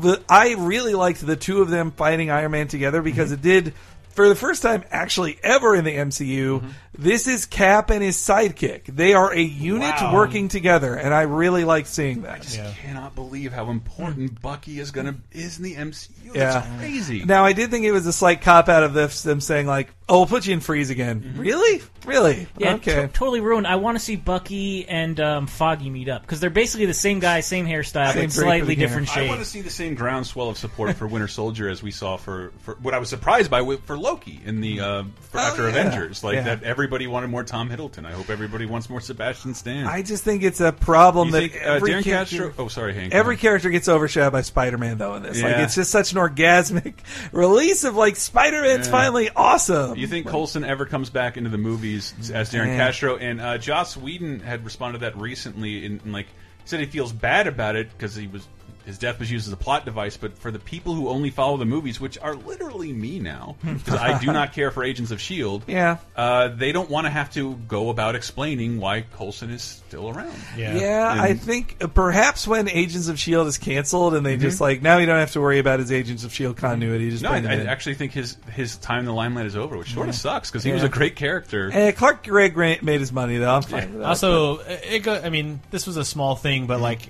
B: the, I really liked the two of them fighting Iron Man together because it did. For the first time, actually, ever in the MCU, this is Cap and his sidekick. They are a unit working together, and I really like seeing that.
A: I cannot believe how important Bucky is going to is in the MCU. That's
B: Yeah.
A: crazy.
B: Now, I did think it was a slight cop out of this, them saying like, "Oh, we'll put you in freeze again." Really, really?
C: Yeah,
B: okay.
C: t- totally ruined. I want to see Bucky and um, Foggy meet up because they're basically the same guy, same hairstyle,
B: Same
C: but slightly
B: drapery hair.
C: different
A: I
C: shade.
A: want to see the same groundswell of support for Winter Soldier as we saw for, for what I was surprised by with- for Loki in the uh, for
B: Oh,
A: after
B: yeah.
A: Avengers. Like
B: Yeah.
A: that, everybody wanted more Tom Hiddleston. I hope everybody wants more Sebastian Stan.
B: I just think it's a problem
A: You
B: that
A: think, uh,
B: every
A: Darren
B: character.
A: Castro. Oh, sorry, Hank.
B: Every character gets overshadowed by Spider-Man, though. In this, like,
A: Yeah.
B: it's just such an orgasmic release of like Spider-Man's
A: Yeah.
B: finally awesome.
A: You think Colson ever comes back into the movies as Darren
B: Yeah.
A: Castro? And uh, Joss Whedon had responded to that recently, in, in like he said he feels bad about it because he was his death was used as a plot device. But for the people who only follow the movies, which are literally me now, because I do not care for Agents of Shield.
B: Hmm. Yeah.
A: E uh, they don't want to have to go about explaining why Colson is still around.
B: Yeah,
D: Yeah.
B: I
A: And-
B: think uh, perhaps when Agents of Shield E is canceled and they just like now you don't have to worry about his Agents of Shield E continuity. Just
A: Mm-hmm. No, I,
B: bring him
A: I
B: in.
A: actually think his his time in the limelight is over, which sort of sucks because he was a great character.
B: Eh, Clark Gregg ran- made his money though. I'm fine with that.
D: Also, it go, I mean, this was a small thing, but like,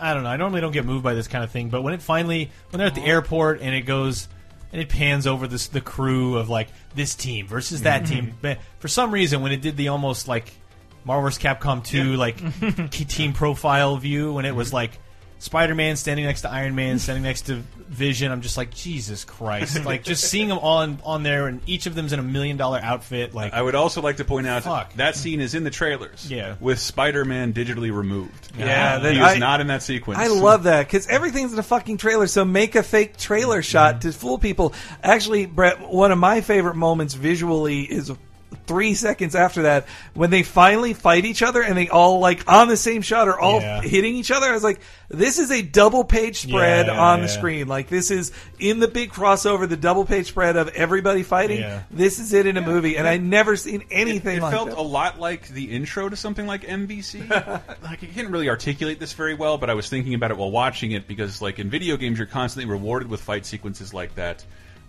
D: I don't know. I normally don't get moved by this kind of thing, but when it finally, when they're at the airport and it goes and it pans over this the crew of like this team versus that team, but for some reason, when it did the almost like Marvel vs. Capcom two like key team profile view, when it was like. Spider Man standing next to Iron Man, standing next to Vision. I'm just like Jesus Christ! Like just seeing them all on, on there, and each of them's in a million dollar outfit. Like
A: I would also like to point out
D: Fuck.
A: that scene is in the trailers.
D: Yeah.
A: With Spider-Man digitally removed.
B: Yeah, that-
A: he was
B: I-
A: not in that sequence.
B: I love that because everything's in a fucking trailer. So make a fake
D: Mm-hmm.
B: trailer shot to fool people. Actually, Brett, one of my favorite moments visually is three seconds after that when they finally fight each other and they all like on the same shot are all
D: Yeah.
B: hitting each other. I was like, this is a double page spread
D: Yeah,
B: on the
D: yeah.
B: screen. Like this is in the big crossover, the double page spread of everybody fighting.
D: Yeah.
B: This is it in a movie, and I never seen anything
A: It
B: like
A: felt
B: that.
A: a lot like the intro to something like MVC. like I can't really articulate this very well, but I was thinking about it while watching it because, like in video games, you're constantly rewarded with fight sequences like that.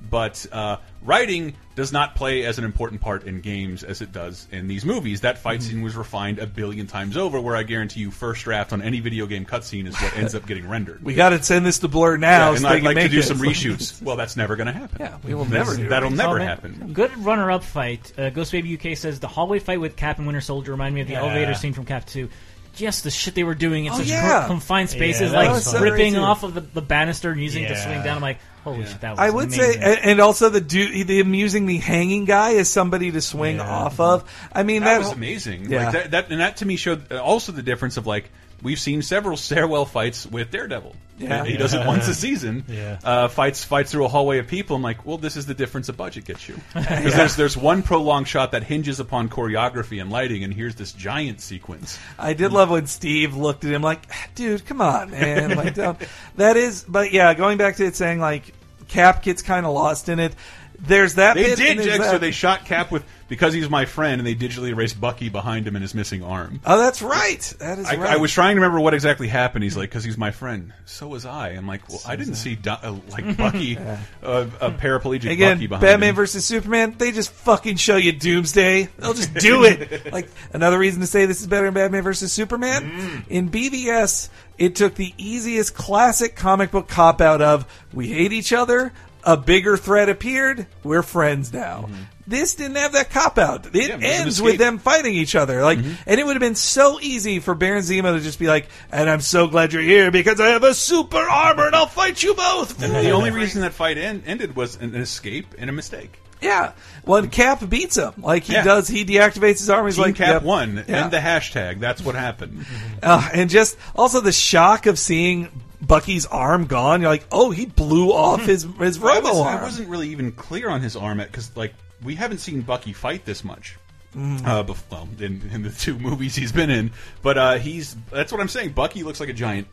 A: But uh, writing does not play as an important part in games as it does in these movies. That fight
B: Mm-hmm.
A: scene was refined a billion times over. Where I guarantee you, first draft on any video game cutscene is what ends up getting rendered.
B: we got to send this to Blur now.
A: and
B: so they
A: I'd
B: can
A: like to
B: make
A: do
B: it.
A: some reshoots. well, that's never going to happen.
B: Yeah, we will
A: That's-
B: never do
A: That'll never
C: Comment.
A: happen.
C: Good runner-up fight. Uh, Ghost Baby UK says the hallway fight with Cap and Winter Soldier reminded me of the elevator scene from Cap Two. Just the shit they were doing in
B: Oh,
C: such
B: yeah.
C: br- confined spaces,
D: that
B: was so
C: like ripping
B: great, too.
C: off of the, the banister and using it to
D: Yeah.
C: swing down. I'm like, holy shit, that was.
B: I would say, uh,
C: amazing.
B: and and also the dude, the amusing the hanging guy is somebody to swing off of. I mean,
A: That
B: that,
A: was amazing.
B: Yeah.
A: Like that, that, and that to me showed uh, also the difference of like we've seen several stairwell fights with Daredevil.
B: Yeah.
A: he does it once a season.
D: Yeah.
A: Uh, fights fights through a hallway of people. I'm like, well, this is the difference a budget gets you. Because there's there's one prolonged shot that hinges upon choreography and lighting, and here's this giant sequence.
B: I did love when Steve looked at him like, "Dude, come on, man!" Like, don't. that is, but yeah, going back to it saying like Cap gets kind of lost in it. there's that.
A: They
B: bit
A: did,
B: and there's
A: Jack,
B: that
A: so they shot Cap with because he's my friend, and they digitally erased Bucky behind him and his missing arm.
B: Oh, that's right. That is
A: I,
B: right. Mm-hmm.
A: I was trying to remember what exactly happened. He's like, because he's my friend. So was I. I'm like, well, I didn't see Do uh, like Bucky, uh, a paraplegic
B: Again,
A: Bucky behind
B: Batman
A: him.
B: versus Superman, they just fucking show you Doomsday. They'll just do it. like another reason to say this is better than Batman versus Superman.
A: Mm.
B: In BVS, it took the easiest classic comic book cop out of we hate each other, a bigger threat appeared, we're friends now. This didn't have that cop out. It
A: Mm-hmm. it was Mm-hmm. an
B: ends with
A: escape.
B: them fighting each other. Like, and it would have been so easy for Baron Zemo to just be like, "And I'm so glad you're here because I have a super armor and I'll fight you both."
A: The only reason that fight end, ended was an escape and a mistake.
B: Yeah. When Cap beats him, like he
A: Yeah.
B: does, he deactivates his arm. He's
A: Team
B: like,
A: Cap
B: yep.
A: won,
B: Yeah.
A: and the hashtag. That's what happened.
B: Uh, and just also the shock of seeing Bucky's arm gone. You're like, oh, he blew off his his
A: Hmm. I,
B: robo
A: was,
B: arm.
A: not really even clear on his arm because, like, we haven't seen Bucky fight this much.
B: Mm.
A: Uh, bef- well, in, in the two movies he's been in, but uh, he's—that's what I'm saying. Bucky looks like a giant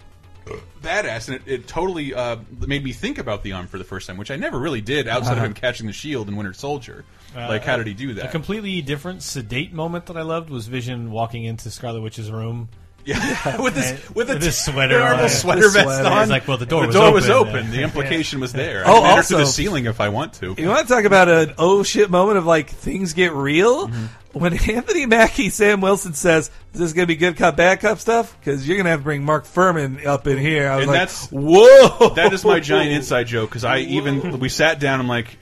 A: badass, and it, it totally uh, made me think about the arm for the first time, which I never really did outside
B: Uh-huh.
A: of him catching the shield in Winter Soldier.
D: Uh,
A: like, how did he do
D: A
A: that?
D: completely different sedate moment that I loved was Vision walking into Scarlet Witch's room.
A: Yeah, with this with, a
D: With his sweater
A: terrible
D: on.
A: sweater
B: His
A: vest
B: sweater.
A: on.
D: He's like, well, the door was
A: was
D: open.
A: open. The implication was there.
B: Oh,
A: I can also, to the
B: also-
A: ceiling if I want to.
B: You want to talk about an oh shit moment of like things get real?
A: Mm-hmm.
B: When Anthony Mackie, Sam Wilson says, "Is this gonna be good cop bad cop stuff?" Because you're gonna have to bring Mark Furman up in here. I was
A: And
B: like,
A: that's-
B: "Whoa!"
A: That is my giant inside joke because I even we sat down. I'm like,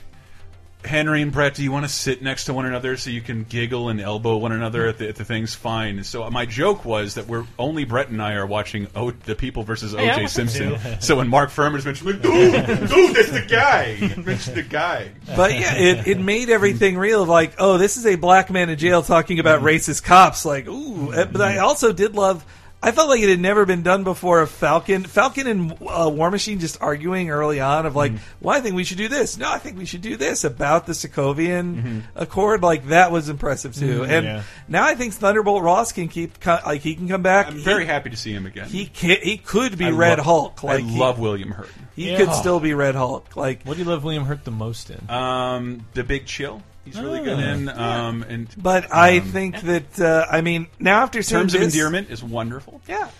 A: Henry and Brett, do you want to sit next to one another so you can giggle and elbow one another at the, at the things? Fine. So uh, my joke was that we're only Brett and I are watching o, the People versus
C: Hey, I
A: O.J.
C: want
A: Simpson. So when Mark Furman's mentioned, like, dude, dude, that's the guy. Mention the guy.
B: But yeah, it, it made everything real. Of like, oh, this is a black man in jail talking about
A: Mm-hmm.
B: racist cops. Like, ooh. Uh, But I also did love. I felt like it had never been done before. Of Falcon, Falcon and uh, War Machine just arguing early on of
A: Mm-hmm.
B: like, well, I think we should do this. No, I think we should do this about the Sokovian
A: Mm-hmm.
B: Accord. Like that was impressive too. and
D: yeah.
B: now I think Thunderbolt Ross can keep co- like he can come back.
A: I'm
B: He-
A: very happy to see him again.
B: He can, he could be
A: I
B: Red
A: love-
B: Hulk. Like
A: I
B: he-
A: love William Hurt.
B: He,
D: Yeah.
B: could still be Red Hulk. Like
D: What do you love William Hurt the most in?
A: Um, the Big Chill. He's really good
D: Oh,
A: in. Um, and
B: But I think that uh, I mean now after seeing
A: Terms of
B: this-
A: Endearment is wonderful.
B: yeah.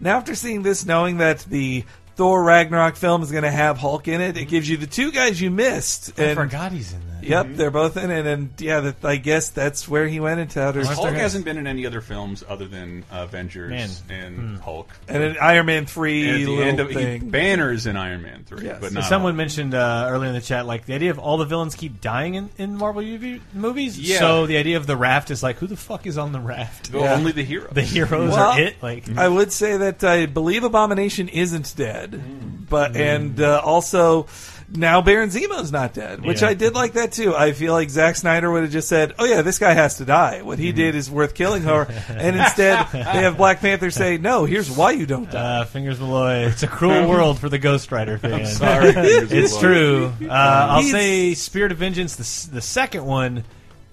B: Now after seeing this, knowing that the Thor Ragnarok film is going to have Hulk in it, it
A: Mm-hmm.
B: gives you the two guys you missed.
D: I
B: And
D: forgot he's in that.
A: Mm-hmm.
B: Yep, they're both in it, and yeah, that, I guess that's where he went into outer space.
A: Hulk hasn't been in any other films other than Avengers
D: Man. Hmm.
A: and Hulk.
B: and an Iron Man
A: And
B: three
A: at the
B: little
A: end of he
B: thing.
A: banners in Iron Man three,
B: Yes.
A: but
B: So
A: not
D: Someone
A: Hulk.
D: mentioned uh, earlier in the chat, like the idea of all the villains keep dying in, in Marvel UV movies.
A: Yeah.
D: So the idea of the raft is like, who the fuck is on the raft?
A: Though
B: Yeah.
A: only the hero.
D: The heroes
B: Well,
D: are it. Like,
B: I would say that I believe Abomination isn't dead,
A: Mm.
B: but and uh, also now Baron Zemo's not dead, which
D: Yeah.
B: I did like that too. I feel like Zack Snyder would have just said, "Oh yeah, this guy has to die. What
A: Mm-hmm.
B: he did is worth killing her," and instead they have Black Panther say, "No, here's why you don't die."
D: uh, fingers Malloy. It's a cruel world for the Ghost Rider fan.
A: Sorry,
D: It's true. Uh, I'll
B: He's-
D: say Spirit of Vengeance, the, s- the second one,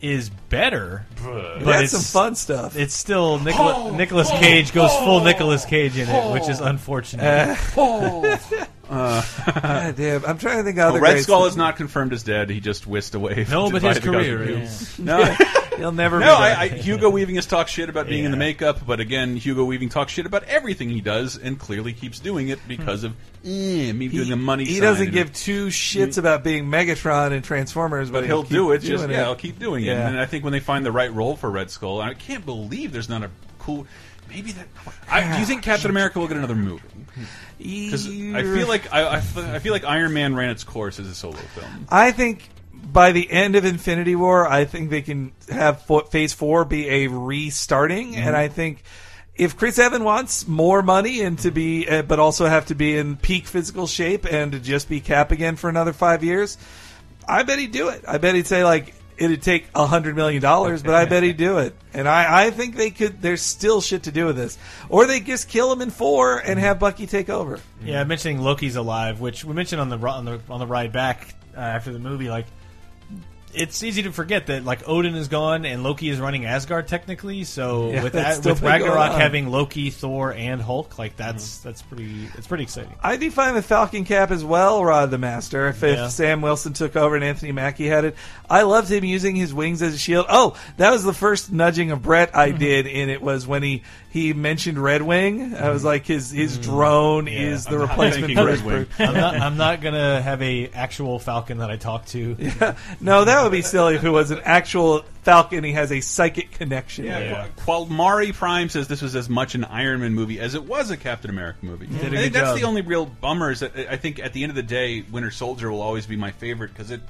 D: is better. But
B: That's
D: it's,
B: some fun stuff.
D: It's still Nicola, Nicolas Cage goes full Nicolas Cage in it, which is unfortunate.
B: Uh, God damn, I'm trying to think of
A: Well,
B: other
A: Red
B: great
A: Skull
B: stuff.
A: is not confirmed as dead. He just whisked away.
D: No, but
A: by
D: his
A: the
D: career
A: Cosmic
D: is.
A: Cube. No,
B: He'll never.
A: no.
B: be dead.
A: I, I, Hugo Weaving has talked shit about being in the
D: Yeah.
A: makeup, but again, Hugo Weaving talks shit about everything he does, and clearly keeps doing it because
D: Hmm.
A: of eh, me doing the money.
B: He
A: sign
B: doesn't
A: and-
B: give two shits about being Megatron and Transformers, but,
A: But he'll
B: keep
A: do it. Just
B: doing
A: yeah, he'll keep doing it.
B: Yeah.
A: And I think when they find the right role for Red Skull, I can't believe there's not a cool. Maybe that. I, do you think Captain America will get another movie? Because I feel like I, I, fe- I feel like Iron Man ran its course as a solo film.
B: I think by the end of Infinity War, I think they can have fo- Phase Four be a restarting, and I think if Chris Evans wants more money and to be, uh, but also have to be in peak physical shape and to just be Cap again for another five years, I bet he'd do it. I bet he'd say like. It'd take a hundred million dollars, but I bet he'd do it. And I, I think they could. There's still shit to do with this, or they just kill him in four and have Bucky take over.
D: Yeah, mentioning Loki's alive, which we mentioned on the ri- on the on the ride back uh, after the movie. Like, it's easy to forget that like Odin is gone and Loki is running Asgard technically. So
B: Yeah,
D: with
B: that's
D: that,
B: still
D: with
B: been going
D: Ragnarok
B: on. Mm-hmm.
D: having Loki, Thor, and Hulk, like that's that's pretty it's pretty exciting.
B: I define the Falcon cap as well, Rod the Master. If, if
D: Yeah.
B: Sam Wilson took over and Anthony Mackie had it, I loved him using his wings as a shield. Oh, that was the first nudging of Brett
A: Mm-hmm.
B: I did, and it was when he he mentioned Red Wing. I was like, his his drone is the
A: Mm-hmm. I'm not
B: replacement
A: thinking
B: for
A: Red
B: his
A: Wing.
B: bird.
D: I'm not I'm not gonna have a actual Falcon that I talk to.
B: No, that would be silly if it was an actual Falcon. He has a psychic connection.
A: Yeah,
D: Yeah.
A: Qual- Qualmari Prime says this was as much an Iron Man movie as it was a Captain America movie. I
D: did a
A: think
D: good
A: that's
D: job.
A: the only real bummer is that I think at the end of the day, Winter Soldier will always be my favorite because it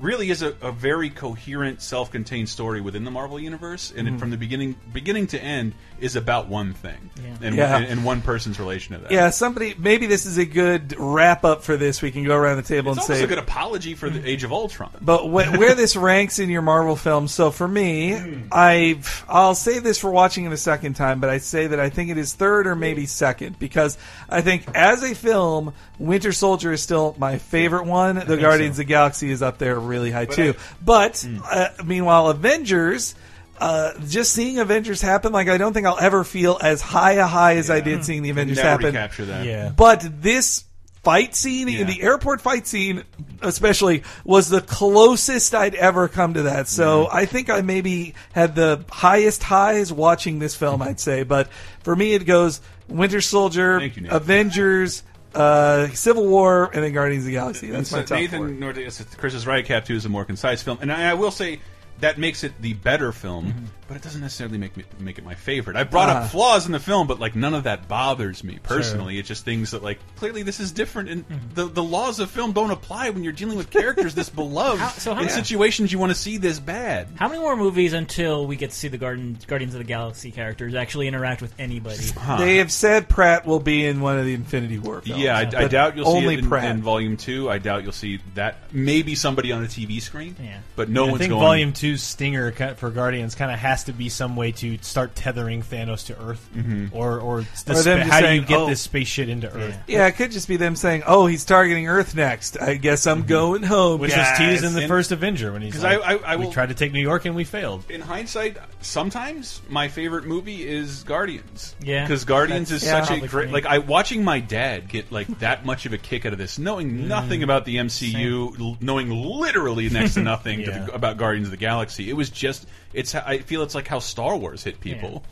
A: really is a, a very coherent, self-contained story within the Marvel universe, and
D: Mm-hmm.
A: it, from the beginning beginning to end is about one thing and,
B: Yeah.
A: and and one person's relation to that.
B: Yeah, somebody. Maybe this is a good wrap up for this. We can go around the table
A: It's
B: and
A: almost
B: say
A: a good apology for
D: Mm.
A: the Age of Ultron.
B: But wh- where this ranks in your Marvel films? So for me, I I'll say this for watching it a second time, but I say that I think it is third or maybe second because I think as a film, Winter Soldier is still my favorite one. the Guardians of the Galaxy is up there really high too. but uh, meanwhile, Avengers. Uh, just seeing Avengers happen, like I don't think I'll ever feel as high a high as I did seeing the Avengers
A: Never
B: happen.
A: recapture that.
D: Yeah.
B: But this fight scene, in the airport fight scene, especially, was the closest I'd ever come to that. So
A: Mm-hmm.
B: I think I maybe had the highest highs watching this film, I'd say. But for me, it goes Winter Soldier,
A: Thank you, Nathan.
B: Avengers, uh, Civil War, and then Guardians of the Galaxy. That's
A: So
B: my top four.
A: Nathan Nordic, Chris is right. Cap Two is a more concise film, and I, I will say that makes it the better film, but it doesn't necessarily make me, make it my favorite. I brought up flaws in the film, but like none of that bothers me personally. It's just things that like clearly this is different, and the the laws of film don't apply when you're dealing with characters this beloved
C: How- so how-
A: in
C: Yeah.
A: situations you want to see this bad.
C: How many more movies until we get to see the Garden, Guardians of the Galaxy characters actually interact with anybody?
B: They have said Pratt will be in one of the Infinity War films.
A: Yeah, I, I
B: But
A: doubt you'll see
B: only
A: it in,
B: Pratt.
A: in Volume Two. I doubt you'll see that. Maybe somebody on a TV screen,
C: Yeah.
A: but no
D: I
A: one's
D: think
A: going.
D: Volume Two's stinger ki- for Guardians kind of has to be some way to start tethering Thanos to Earth,
A: Mm-hmm.
D: or or,
B: Or
D: the
B: them
D: spa-
B: just
D: how
B: saying,
D: do you get
B: "Oh."
D: this space shit into Earth?
B: yeah, it could just be them saying, "Oh, he's targeting Earth next. I guess I'm
A: Mm-hmm.
B: going home."
D: Which
B: guys.
D: was teased in the
A: And-
D: first Avenger when he's
A: 'Cause
D: like,
A: I- I- I
D: "We
A: will-
D: tried to take New York and we failed."
A: in hindsight, sometimes my favorite movie is Guardians.
C: Yeah.
A: because Guardians is
B: That's- yeah.
A: such a
B: Probably
A: great. Like I watching my dad get like that much of a kick out of this, knowing nothing about the MCU, l- knowing literally next to nothing to
D: Yeah.
A: the, about Guardians of the Galaxy. It was just. It's. ho- I feel it's like how Star Wars hit people.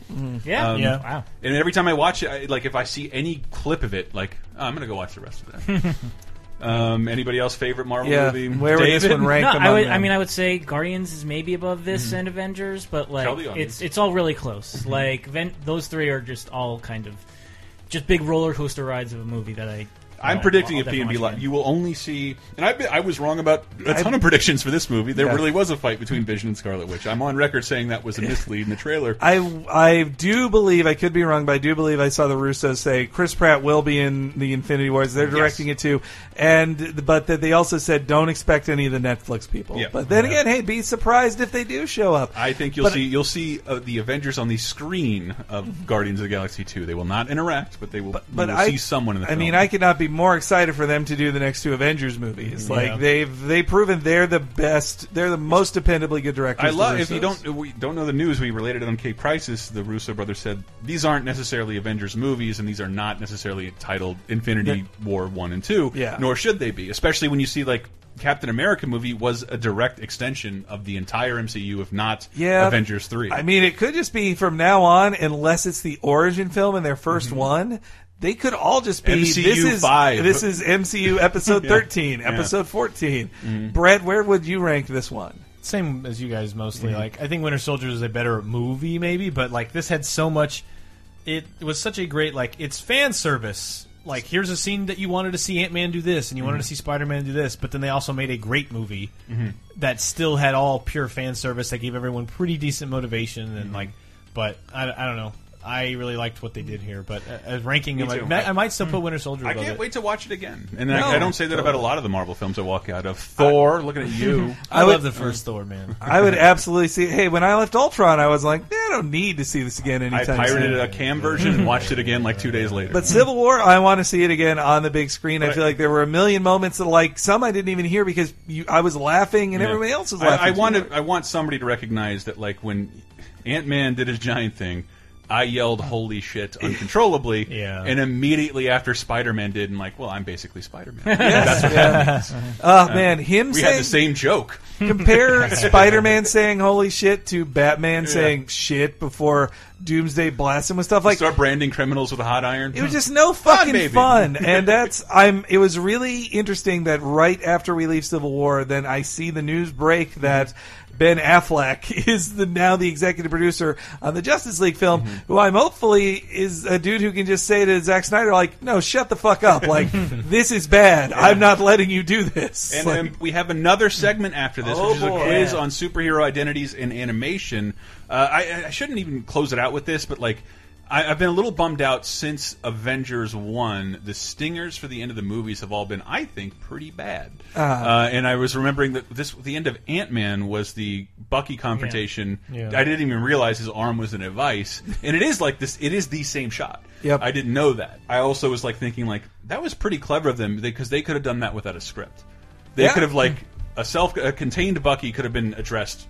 C: Yeah.
A: Um,
D: Yeah.
C: Wow.
A: And every time I watch it, I, like if I see any clip of it, like oh, I'm gonna go watch the rest of that. um, anybody else favorite Marvel
B: Yeah,
A: movie?
B: where would this
A: David?
B: one rank
C: No, I
B: among
C: would.
B: them?
C: I mean, I would say Guardians is maybe above this and Avengers, but
A: Tell
C: like
A: the audience.
C: it's it's all really close. Like ven- those three are just all kind of just big roller coaster rides of a movie that I.
A: I'm
C: I'll-
A: predicting
C: I'll
A: a PNB
C: definitely watch
A: lot.
C: again.
A: You will only see, and I, I was wrong about a ton of predictions for this movie. There
B: Yeah.
A: really was a fight between Vision and Scarlet Witch. I'm on record saying that was a mislead in the trailer.
B: I I do believe I could be wrong, but I do believe I saw the Russos say Chris Pratt will be in the Infinity Wars. They're directing it too, and but that they also said don't expect any of the Netflix people.
A: Yeah.
B: But then again, hey, be surprised if they do show up.
A: I think you'll
B: But- Mhm.
A: see you'll see uh, the Avengers on the screen of Guardians of the Galaxy 2. They will not interact, but they will. we
B: but
A: will
B: I
A: see someone in the.
B: I mean,
A: film.
B: I could not be more excited for them to do the next two Avengers movies. Like they've they proven they're the best, they're the most dependably good directors.
A: I
B: the
A: love if you
B: Russos.
A: don't if we don't know the news. We related it on Cape Crisis. The Russo brothers said these aren't necessarily Avengers movies, and these are not necessarily titled Infinity War one and two.
B: Yeah.
A: nor should they be, especially when you see like Captain America movie was a direct extension of the entire MCU, if not
B: Yeah,
A: Avengers three.
B: I mean, it could just be from now on, unless it's the origin film and their 1st
A: Mm-hmm.
B: one. They could all just be
A: MCU
B: this is
A: five.
B: this is MCU episode thirteen, episode fourteen.
A: Mm-hmm.
B: Brett, where would you rank this one?
D: Same as you guys mostly.
A: Mm-hmm.
D: Like I think Winter Soldier is a better movie, maybe, but like this had so much. It was such a great like it's fan service. Like here's a scene that you wanted to see Ant Man do this, and you
A: Mm-hmm.
D: wanted to see Spider Man do this, but then they also made a great movie that still had
A: Mm-hmm.
D: all pure fan service that gave everyone pretty decent motivation and like. But I, I don't know. I really liked what they did here, but uh, as ranking them, I,
A: too. Mm.
D: might- I might still put Winter Soldier.
A: I
D: above
A: can't
D: it.
A: wait to watch it again. And
B: No.
A: I, I don't say that about a lot of the Marvel films I walk out of. Thor, looking at you.
D: I,
B: I would-
D: love the
A: Mm.
D: first Thor, man.
B: I would absolutely see. Hey, when I left Ultron, I was like, eh, I don't need to see this again
A: I
B: anytime soon.
A: pirated a cam version and watched it again like two days later.
B: But Civil War, I want to see it again on the big screen. I
A: But-
B: feel like there were a million moments that, like, some I didn't even hear because you, I was laughing and
A: Yeah.
B: everybody else was
A: I-
B: laughing.
A: I,
B: too.
A: want to, I want somebody to recognize that, like when Ant Man did his giant thing, I yelled "Holy shit!" uncontrollably.
D: Yeah.
A: And immediately after Spider Man did, and like, well, I'm basically Spider Man.
B: Yes, yeah. Oh man, him
A: uh, we had
B: saying
A: the same joke.
B: compare Spider-Man saying "Holy shit" to Batman saying "shit" before Doomsday blasts him with stuff like
A: Start branding criminals with a hot iron.
B: It was just no fucking
A: baby.
B: fun, and that's I'm. It was really interesting that right after we leave Civil War, then I see the news break
A: Mm-hmm.
B: that Ben Affleck is the now the executive producer on the Justice League film,
A: Mm-hmm.
B: who I'm hopefully is a dude who can just say to Zack Snyder like, "No, shut the fuck up! Like this is bad. I'm not letting you do this."
A: And
B: Like-
A: um, we have another segment after this,
B: Oh,
A: which is a
B: boy.
A: quiz
B: Yeah.
A: on superhero identities in animation. Uh, I, I shouldn't even close it out with this, but like. I, I've been a little bummed out since Avengers One. The stingers for the end of the movies have all been, I think, pretty bad. Uh,
B: Ah.
A: and I was remembering that this the end of Ant Man was the Bucky confrontation.
D: Yeah.
A: I didn't even realize his arm was in a vice, and it is like this. It is the same shot.
B: Yep.
A: I didn't know that. I also was like thinking like that was pretty clever of them because they could have done that without a script. They
B: Yeah.
A: could have like a self a contained Bucky could have been addressed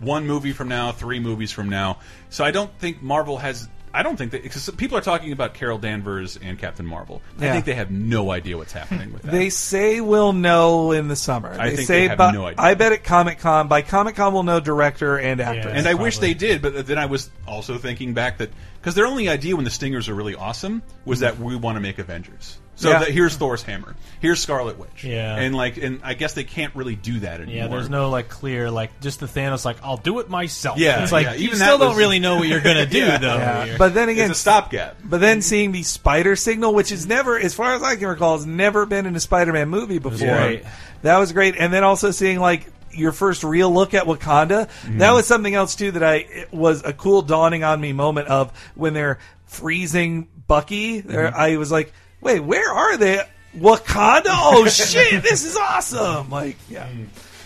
A: one movie from now, three movies from now. So I don't think Marvel has. I don't think that because people are talking about Carol Danvers and Captain Marvel. I
B: Yeah.
A: think they have no idea what's happening with that.
B: They say we'll know in the summer.
A: I
B: they
A: think
B: say
A: they have
B: by-
A: no idea.
B: I bet at Comic Con by Comic Con we'll know director and actor.
A: and I wish
D: Probably.
A: they did, but then I was also thinking back that because their only idea when the Stingers are really awesome was that we want to make Avengers. So
B: Yeah.
A: that, here's Thor's hammer, here's Scarlet Witch,
D: Yeah.
A: and like, and I guess they can't really do that anymore.
D: Yeah, there's no like clear like just the Thanos like I'll do it myself.
A: Yeah,
D: it's like
A: yeah,
D: you
A: even
D: still
A: that
D: don't
A: was-
D: really know what you're gonna do
A: Yeah.
D: though.
B: Yeah.
D: here.
B: But then again,
A: it's a stopgap.
B: But then seeing the spider signal, which is never, as far as I can recall, has never been in a Spider-Man movie before.
D: great.
B: That was great. And then also seeing like your first real look at Wakanda. That was something else too that I it was a cool dawning on me moment of when they're freezing Bucky. There, I was like, wait, where are they? Wakanda? Oh shit! This is awesome! Like, yeah.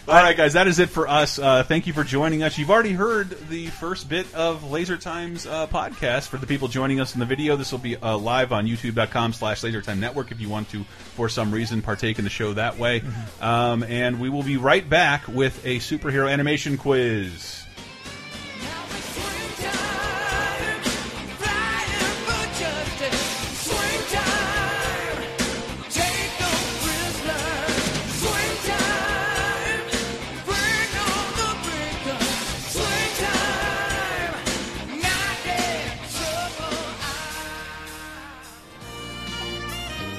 A: All right, guys, that is it for us. Uh, thank you for joining us. You've already heard the first bit of Laser Time's uh, podcast. For the people joining us in the video, this will be uh, live on youtube.com slash lasertime network if you want to, for some reason, partake in the show that way.
B: Mm-hmm.
A: Um, and we will be right back with a superhero animation quiz.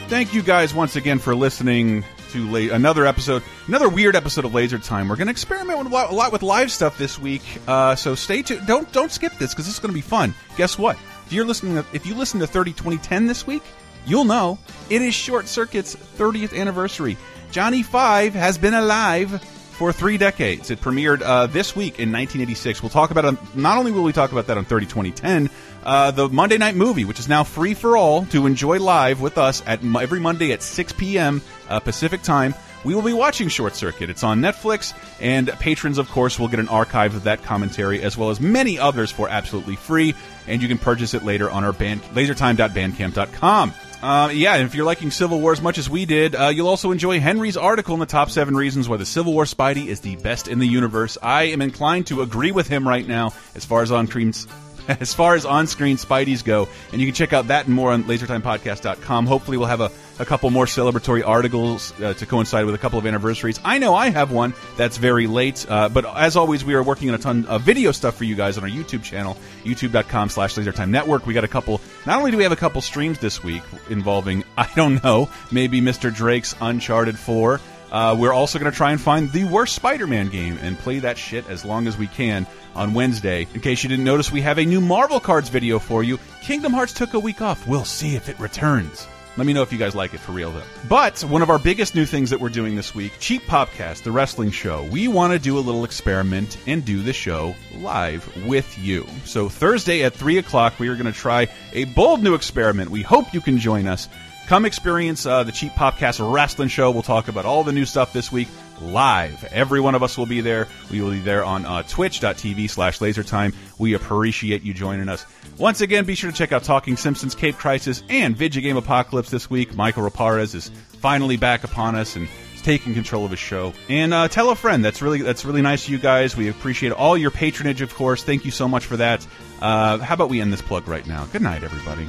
A: Thank you guys once again for listening to la- another episode, another weird episode of Laser Time. We're going to experiment with a, lot, a lot with live stuff this week, uh, so stay tuned. Don't don't skip this because this is going to be fun. Guess what? If you're listening, to, if you listen to 30 2010 this week, you'll know it is Short Circuit's 30th anniversary. Johnny Five has been alive for three decades. It premiered uh, this week in 1986. We'll talk about it. on- Not only will we talk about that on 30 2010, uh, the Monday Night Movie, which is now free for all to enjoy live with us at mo- every Monday at 6 p.m. Uh, Pacific time. We will be watching Short Circuit. It's on Netflix, and patrons, of course, will get an archive of that commentary as well as many others for absolutely free. And you can purchase it later on our band, lasertime.bandcamp.com. Uh, yeah, and if you're liking Civil War as much as we did, uh, you'll also enjoy Henry's article in the top seven reasons why the Civil War Spidey is the best in the universe. I am inclined to agree with him right now as far as on creams. As far as on-screen Spideys go, and you can check out that and more on LaserTimePodcast.com. Hopefully, we'll have a, a couple more celebratory articles uh, to coincide with a couple of anniversaries. I know I have one that's very late, uh, but as always, we are working on a ton of video stuff for you guys on our YouTube channel, youtube.com slash lasertime network. We got a couple, not only do we have a couple streams this week involving, I don't know, maybe Mr. Drake's Uncharted 4. Uh, we're also going to try and find the worst Spider Man game and play that shit as long as we can on Wednesday. In case you didn't notice, we have a new Marvel Cards video for you. Kingdom Hearts took a week off. We'll see if it returns. Let me know if you guys like it for real, though. But one of our biggest new things that we're doing this week, Cheap Popcast, the wrestling show, we want to do a little experiment and do the show live with you. So Thursday at 3 o'clock, we are going to try a bold new experiment. We hope you can join us. Come experience uh, the Cheap Popcast Wrestling Show. We'll talk about all the new stuff this week live. Every one of us will be there. We will be there on uh, twitch.tv slash lasertime. We appreciate you joining us. Once again, be sure to check out Talking Simpsons, Cape Crisis, and Video Game Apocalypse this week. Michael Raparez is finally back upon us and is taking control of his show. And uh, tell a friend. That's really that's really nice of you guys. We appreciate all your patronage, of course. Thank you so much for that. Uh, how about we end this plug right now? Good night, everybody.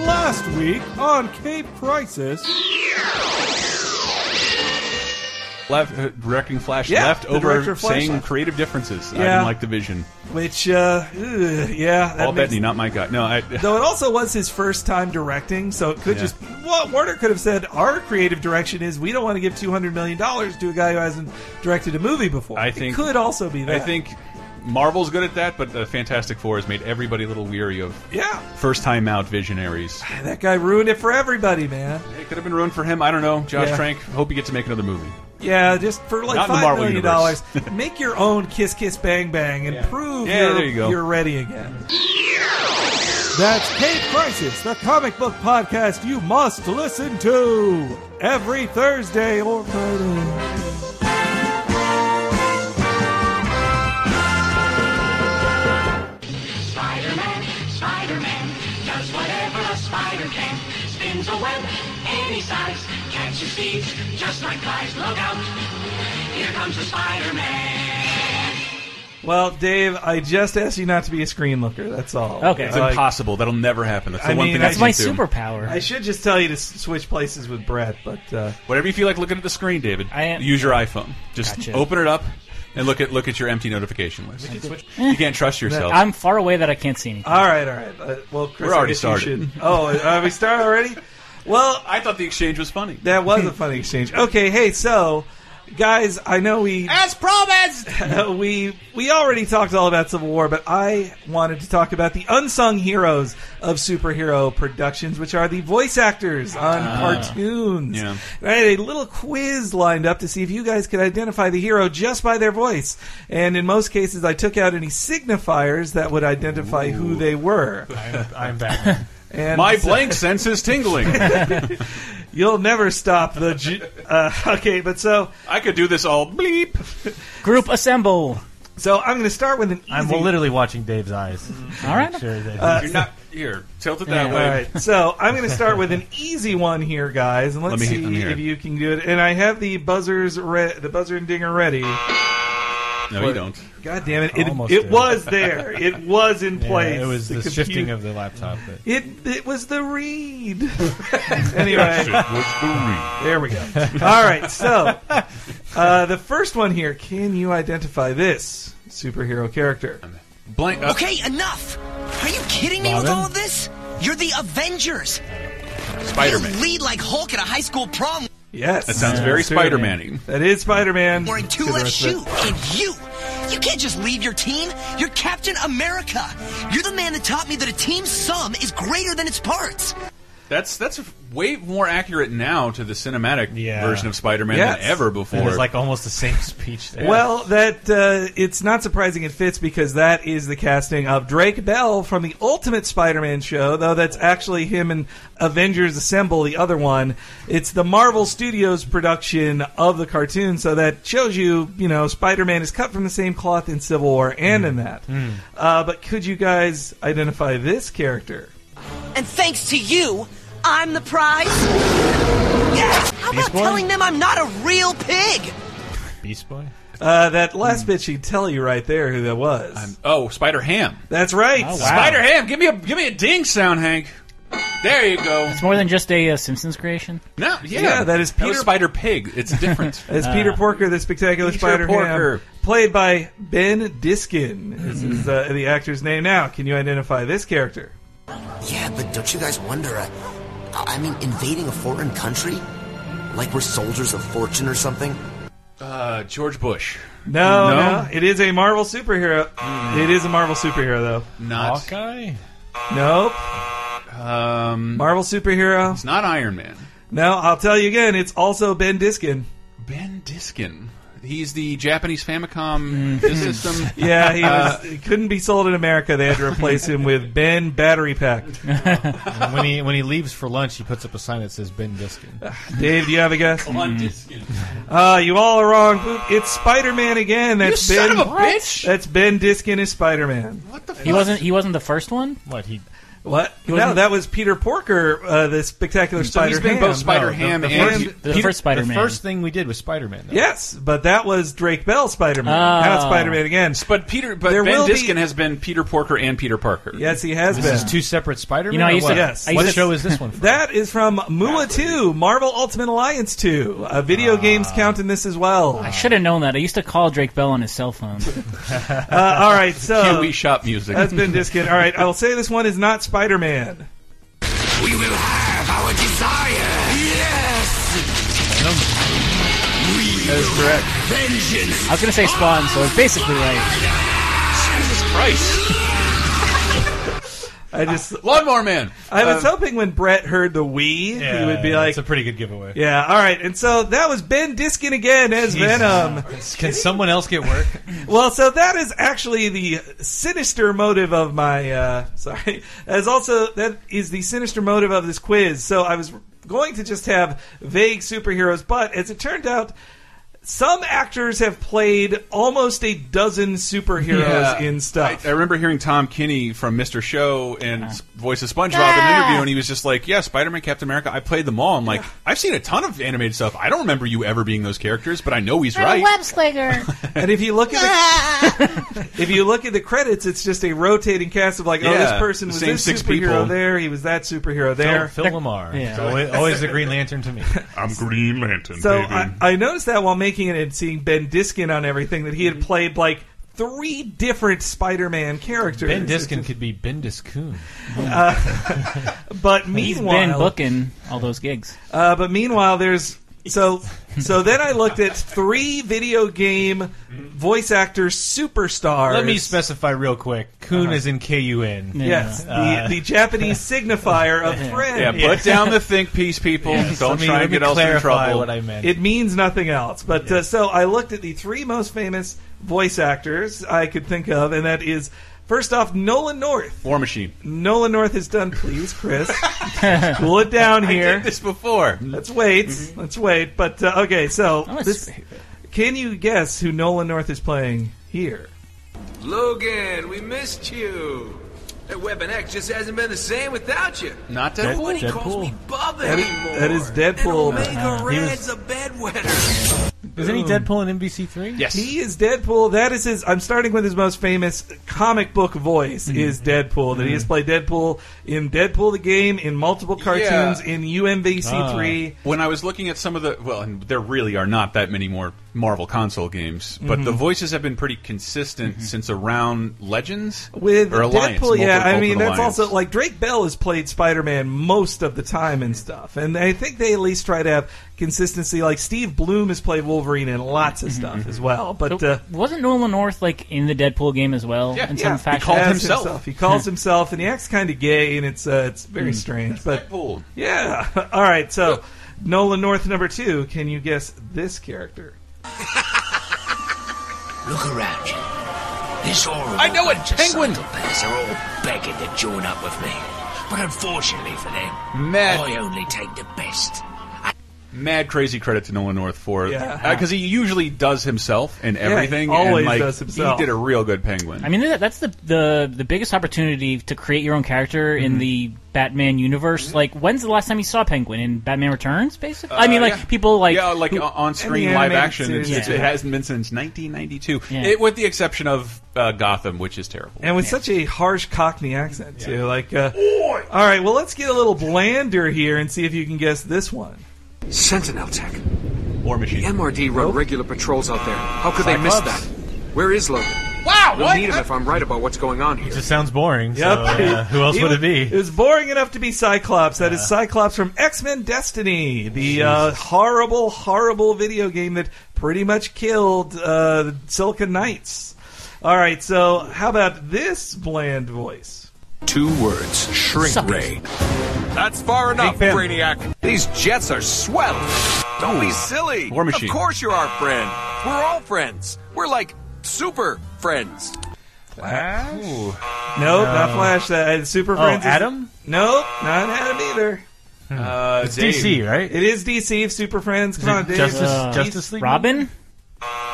B: Last week on Cape Crisis.
A: Left, uh, directing Flash
B: Yeah,
A: left
B: the
A: over
B: director of Flash
A: saying
B: left.
A: creative differences. I
B: Yeah.
A: didn't like the vision.
B: Which, uh, ugh, yeah. that
A: Paul
B: makes-
A: Bettany, not my guy. No, I,
B: Though it also was his first time directing, so it could
A: Yeah.
B: just. Well, Warner could have said, our creative direction is we don't want to give $200 million to a guy who hasn't directed a movie before.
A: I
B: It
A: think-
B: could also be
A: I
B: that.
A: think Marvel's good at that, but the Fantastic Four has made everybody a little weary of
B: Yeah.
A: first time out visionaries.
B: That guy ruined it for everybody, man.
A: It could have been ruined for him. I don't know. Josh
B: Yeah.
A: Trank, hope you get to make another movie.
B: Yeah, just for like
A: Not in the
B: five
A: Marvel
B: million
A: universe.
B: dollars, make your own Kiss Kiss Bang Bang and
A: Yeah.
B: prove
A: Yeah,
B: you're,
A: there you go.
B: are ready again. That's Cape Crisis, the comic book podcast you must listen to every Thursday or Friday.
G: Spider-Man, Spider-Man, does whatever a spider can. Spins a web any size, catches thieves just like flies. Look out, here comes the Spider-Man.
B: Well, Dave, I just asked you not to be a screen looker. That's all.
C: Okay.
A: It's
B: Like,
A: impossible. That'll never happen. That's the
B: I
A: one
B: mean,
A: thing
B: that's
C: It's my
A: can do.
C: superpower.
B: I should just tell you to s- switch places with Brett, but uh,
A: Whatever you feel like looking at the screen, David.
C: I am-
A: use your iPhone. Just
C: Gotcha.
A: open it up and look at look at your empty notification list. You can't trust yourself.
C: I'm far away that I can't see anything.
B: all right, all right. Uh, well, Chris,
A: We're
B: I
A: already
B: guess you
A: started.
B: should- Oh, are we started already? Well,
A: I thought the exchange was funny.
B: That was a funny exchange. Okay, hey, so guys, I know we
D: As promised.
B: we we already talked all about Civil War, but I wanted to talk about the unsung heroes of superhero productions, which are the voice actors on cartoons.
A: Ah. yeah.
B: And I had a little quiz lined up to see if you guys could identify the hero just by their voice. And in most cases, I took out any signifiers that would identify who they were.
D: I'm, I'm back.
B: And
A: My
B: so-
A: blank sense is tingling.
B: You'll never stop the. Ju- uh, okay, but so.
A: I could do this all bleep.
C: Group assemble.
B: So I'm going to start with an easy.
D: I'm literally watching Dave's eyes.
C: Mm-hmm. All right.
D: Sure that
H: Uh,
A: You're not here. Tilt it that
B: All
A: way.
B: right. So I'm going to start with an easy one here, guys, and let's
A: Let me-
B: see
A: let me hear
B: if
A: it.
B: you can do it. And I have the buzzers, re- the buzzer and dinger ready.
A: No, you don't.
B: God damn it! It,
D: Almost
B: it
D: did.
B: was there. It was in
D: Yeah,
B: place.
D: it was the,
B: compu-
D: shifting of the laptop. But
B: It, it was the read. anyway, there we go. All right, so uh, the first one here. Can you identify this superhero character?
A: Blank. uh,
I: Okay, enough! Are you kidding me with
D: Robin?
I: all this? You're the Avengers! You
A: Spider-Man.
I: lead like Hulk at a high school prom
B: Yes,
A: That sounds very
B: Superman.
A: Spider-Man-y.
B: That is Spider-Man.
I: wearing two
B: To the
I: left
B: rest of it.
I: shoe, and you! You can't just leave your team! You're Captain America! You're the man that taught me that a team's sum is greater than its parts!
A: That's that's way more accurate now to the cinematic
D: Yeah.
A: version of Spider-Man
B: Yes.
A: than ever
D: it
A: before.
D: was like almost the same speech. There.
B: Well, that uh, it's not surprising it fits because that is the casting of Drake Bell from the Ultimate Spider-Man show. Though that's actually him in Avengers Assemble, the other one. It's the Marvel Studios production of the cartoon, so that shows you, you know, Spider-Man is cut from the same cloth in Civil War and in that. Uh, but could you guys identify this character?
G: And thanks to you, I'm the prize. Yes!
I: How about telling them I'm not a real pig?
D: Beast Boy.
B: Uh, that last bit she'd tell you right there who that was.
A: oh, Spider-Ham.
B: that's right.
A: Spider-Ham, give me a give me a ding sound, Hank. There you go.
C: It's more than just a uh, Simpsons creation.
A: No, yeah,
B: Yeah, that is
A: was
B: Peter-
A: Spider-Pig. It's different.
B: As Peter Porker, the spectacular
A: Peter
B: Spider
A: Porker.
B: Ham, played by Ben Diskin. This is uh, the actor's name now. Can you identify this character?
I: Yeah, but don't you guys wonder, uh, I mean, invading a foreign country? Like we're soldiers of fortune or something?
A: uh, George Bush.
B: No,
H: No?
B: no, It is a Marvel superhero. It is a Marvel superhero,
H: Not.
D: Hawkeye?
B: though. Nope.
H: Um,
B: Marvel superhero.
H: it's not Iron Man.
B: No, I'll tell you again. It's also Ben Diskin.
H: Ben Diskin. He's the Japanese Famicom disk system.
B: Mm-hmm. Yeah, he was, he couldn't be sold in America. They had to replace him with Ben Battery Pack.
D: And when he when he leaves for lunch, he puts up a sign that says Ben Diskin.
B: Dave, do you have a guess?
H: On Diskin.
B: Uh, you all are wrong. Boop. It's Spider Man again. That's
H: son
B: Ben.
H: of a bitch!
B: That's Ben Diskin as Spider Man.
H: What the fuck?
C: He wasn't. He wasn't the first one.
D: What he?
B: What? No,
C: wasn't-
B: that was Peter Porker, uh, the spectacular
H: So
B: Spider.
H: he's been both Spider Ham
D: the, the
H: and.
D: first,
C: The first Spider-Man.
D: The first thing we did was Spider Man.
B: Yes, but that was Drake Bell Spider Man, not
H: Ah.
C: Oh.
B: Spider Man again.
H: But Peter, but
B: There
H: Ben
B: will be-
H: Diskin has been Peter Porker and Peter Parker.
B: Yes, he has
D: This
B: been.
D: is two separate Spider Man.
C: You know, I used to-
D: what?
B: Yes. I
D: What
C: used to-
D: show is this one? From?
B: That is from Mua 2, Marvel Ultimate Alliance 2. Uh, video
H: Ah.
B: games count in this as well.
C: I should have known that. I used to call Drake Bell on his cell phone.
B: Uh, all right, so
H: Kiwi shop music.
B: that's been Diskin. All right, I will say this one is not Spider Man.
I: We will have our desire. Yes.
H: That is correct.
I: Vengeance.
C: I was gonna say Spawn, so it's basically right.
H: Jesus Christ.
B: I just,
H: Lawnmower Man.
B: I was hoping when Brett heard the Wii, he would be like,
D: it's a pretty good giveaway.
B: yeah, all right. And so that was Ben Diskin again as Venom.
D: Can someone else get work?
B: Well, so that is actually the sinister motive of my. Uh, sorry, as also that is the sinister motive of this quiz. So I was going to just have vague superheroes, but as it turned out. Some actors have played almost a dozen superheroes
H: Yeah.
B: in stuff.
H: I er, remember hearing Tom Kinney from Mr. Show and
B: Uh-huh.
H: s- voice of SpongeBob in an interview, and he was just like, "Yeah, Spider-Man, Captain America. I played them all. I'm like, I've seen a ton of animated stuff. I don't remember you ever being those characters, but I know he's right.
B: and if you look at the, if you look at the credits, it's just a rotating cast of like, oh, this
H: Yeah,
B: person
H: the
B: was
H: same
B: this
H: six
B: superhero
H: people.
B: there, he was that superhero
D: Phil,
B: there.
D: Phil Lamar.
C: Yeah.
D: Always, always the Green Lantern to me.
J: I'm Green Lantern,
B: So I, I noticed that while making it and seeing Ben Diskin on everything that he had played like three different Spider-Man characters.
D: Ben Diskin could be Bendis Coon.
B: but
C: He's been
B: meanwhile,
C: booking all those gigs.
B: uh, but meanwhile, there's so so. Then I looked at three video game voice actor superstars.
D: Let me specify real quick. Uh-huh. Coon is in K U N.
B: Yes,
D: Uh,
B: the, the Japanese signifier of friend.
H: yeah, put down the think piece, people. Don't
D: Let me,
H: try
D: let
H: and
D: me
H: get us in
D: clarify
H: trouble.
D: what I meant.
B: It means nothing else. But uh, so I looked at the three most famous voice actors I could think of, and that is first off Nolan North.
H: War Machine.
B: Nolan North is done. Please, Chris, cool it down
H: Did
B: here.
H: this before.
B: Let's wait. Let's wait. But uh, okay, so
C: Oh, it's-
B: this, can you guess who Nolan North is playing here?
A: Logan, we missed you. That Weapon X just hasn't been the same without you.
H: Not that
A: Nobody calls me Bubba anymore.
B: that is Deadpool.
A: And Omega
C: Uh-huh. He was-
A: Red's a bedwetter.
D: Isn't he Deadpool in NBC three?
H: Yes.
B: He is Deadpool. That is his. I'm starting with his most famous comic book voice
H: Mm-hmm.
B: is Deadpool. That he has played Deadpool in Deadpool the game, in multiple cartoons, in UMVC three.
H: when I was looking at some of the well, and there really are not that many more Marvel console games, but the voices have been pretty consistent since around Legends
B: with
H: or Alliance.
B: Deadpool. Yeah,
H: Multiple
B: I mean that's
H: Alliance.
B: also like Drake Bell has played Spider Man most of the time and stuff, and I think they at least try to have consistency. Like Steve Bloom has played Wolverine in lots
H: Mm-hmm.
B: of stuff as well, but.
C: So,
B: Uh,
C: wasn't Nolan North like in the Deadpool game as well?
H: Yeah.
C: in some
B: yeah,
C: fashion.
H: he called
B: as
H: himself.
B: He calls himself, and he acts kind of gay, and it's uh, it's very
H: Hmm.
B: strange. But
H: Deadpool.
B: yeah, all right. So Nolan North number two. Can you guess this character?
I: Look around you. This horrible
H: I know it,
I: bunch of
H: penguin.
I: psychopaths are all begging to join up with me. But unfortunately for them,
H: Mad.
I: I only take the best.
H: mad crazy credit to Nolan North for
B: Yeah.
H: because he usually does himself and
B: he
H: everything. and,
B: always
H: like,
B: does himself.
H: He did a real good Penguin.
C: I mean, that, that's the, the the biggest opportunity to create your own character
D: Mm-hmm.
C: in the Batman
H: Mm-hmm.
C: universe. Like, when's the last time you saw Penguin in Batman Returns? Basically, I mean, like
H: Uh, yeah.
C: people like
H: yeah, like
C: who-
H: on screen
B: and the
H: live
B: animated
H: action. It's,
B: series.
H: it's- It hasn't been since 1992,
C: Yeah.
H: it, with the exception of uh, Gotham, which is terrible.
B: And with such a harsh Cockney accent too, like. Uh, all right, well, let's get a little blander here and see if you can guess this one.
A: Sentinel Tech.
H: War Machine.
A: MRD run regular patrols out there. How could they miss that? Where is Logan?
K: Wow,
H: We'll
K: what?
H: need him if I'm right about what's going on here.
D: It just sounds boring. So, uh, who else
B: He
D: would it
B: was-
D: be?
B: It was boring enough to be Cyclops. That is Cyclops from X Men Destiny, the uh, horrible, horrible video game that pretty much killed uh, the Silicon Knights. All right, so how about this bland voice?
K: Two words. Shrink
C: Suck it.
K: ray.
H: That's far enough,
A: Pym.
H: Brainiac. These jets are swell. Don't be silly.
A: War Machine.
H: Of course you're our friend. We're all friends. We're like super friends.
B: Nope, not Flash. Uh, Super
D: Oh,
B: Friends. is-
D: Adam?
B: Nope, not Adam either.
A: Uh,
D: It's DC, right?
B: It is DC. Super Friends. Come on, Dave.
D: Justice,
C: Uh,
D: Justice League.
C: Robin?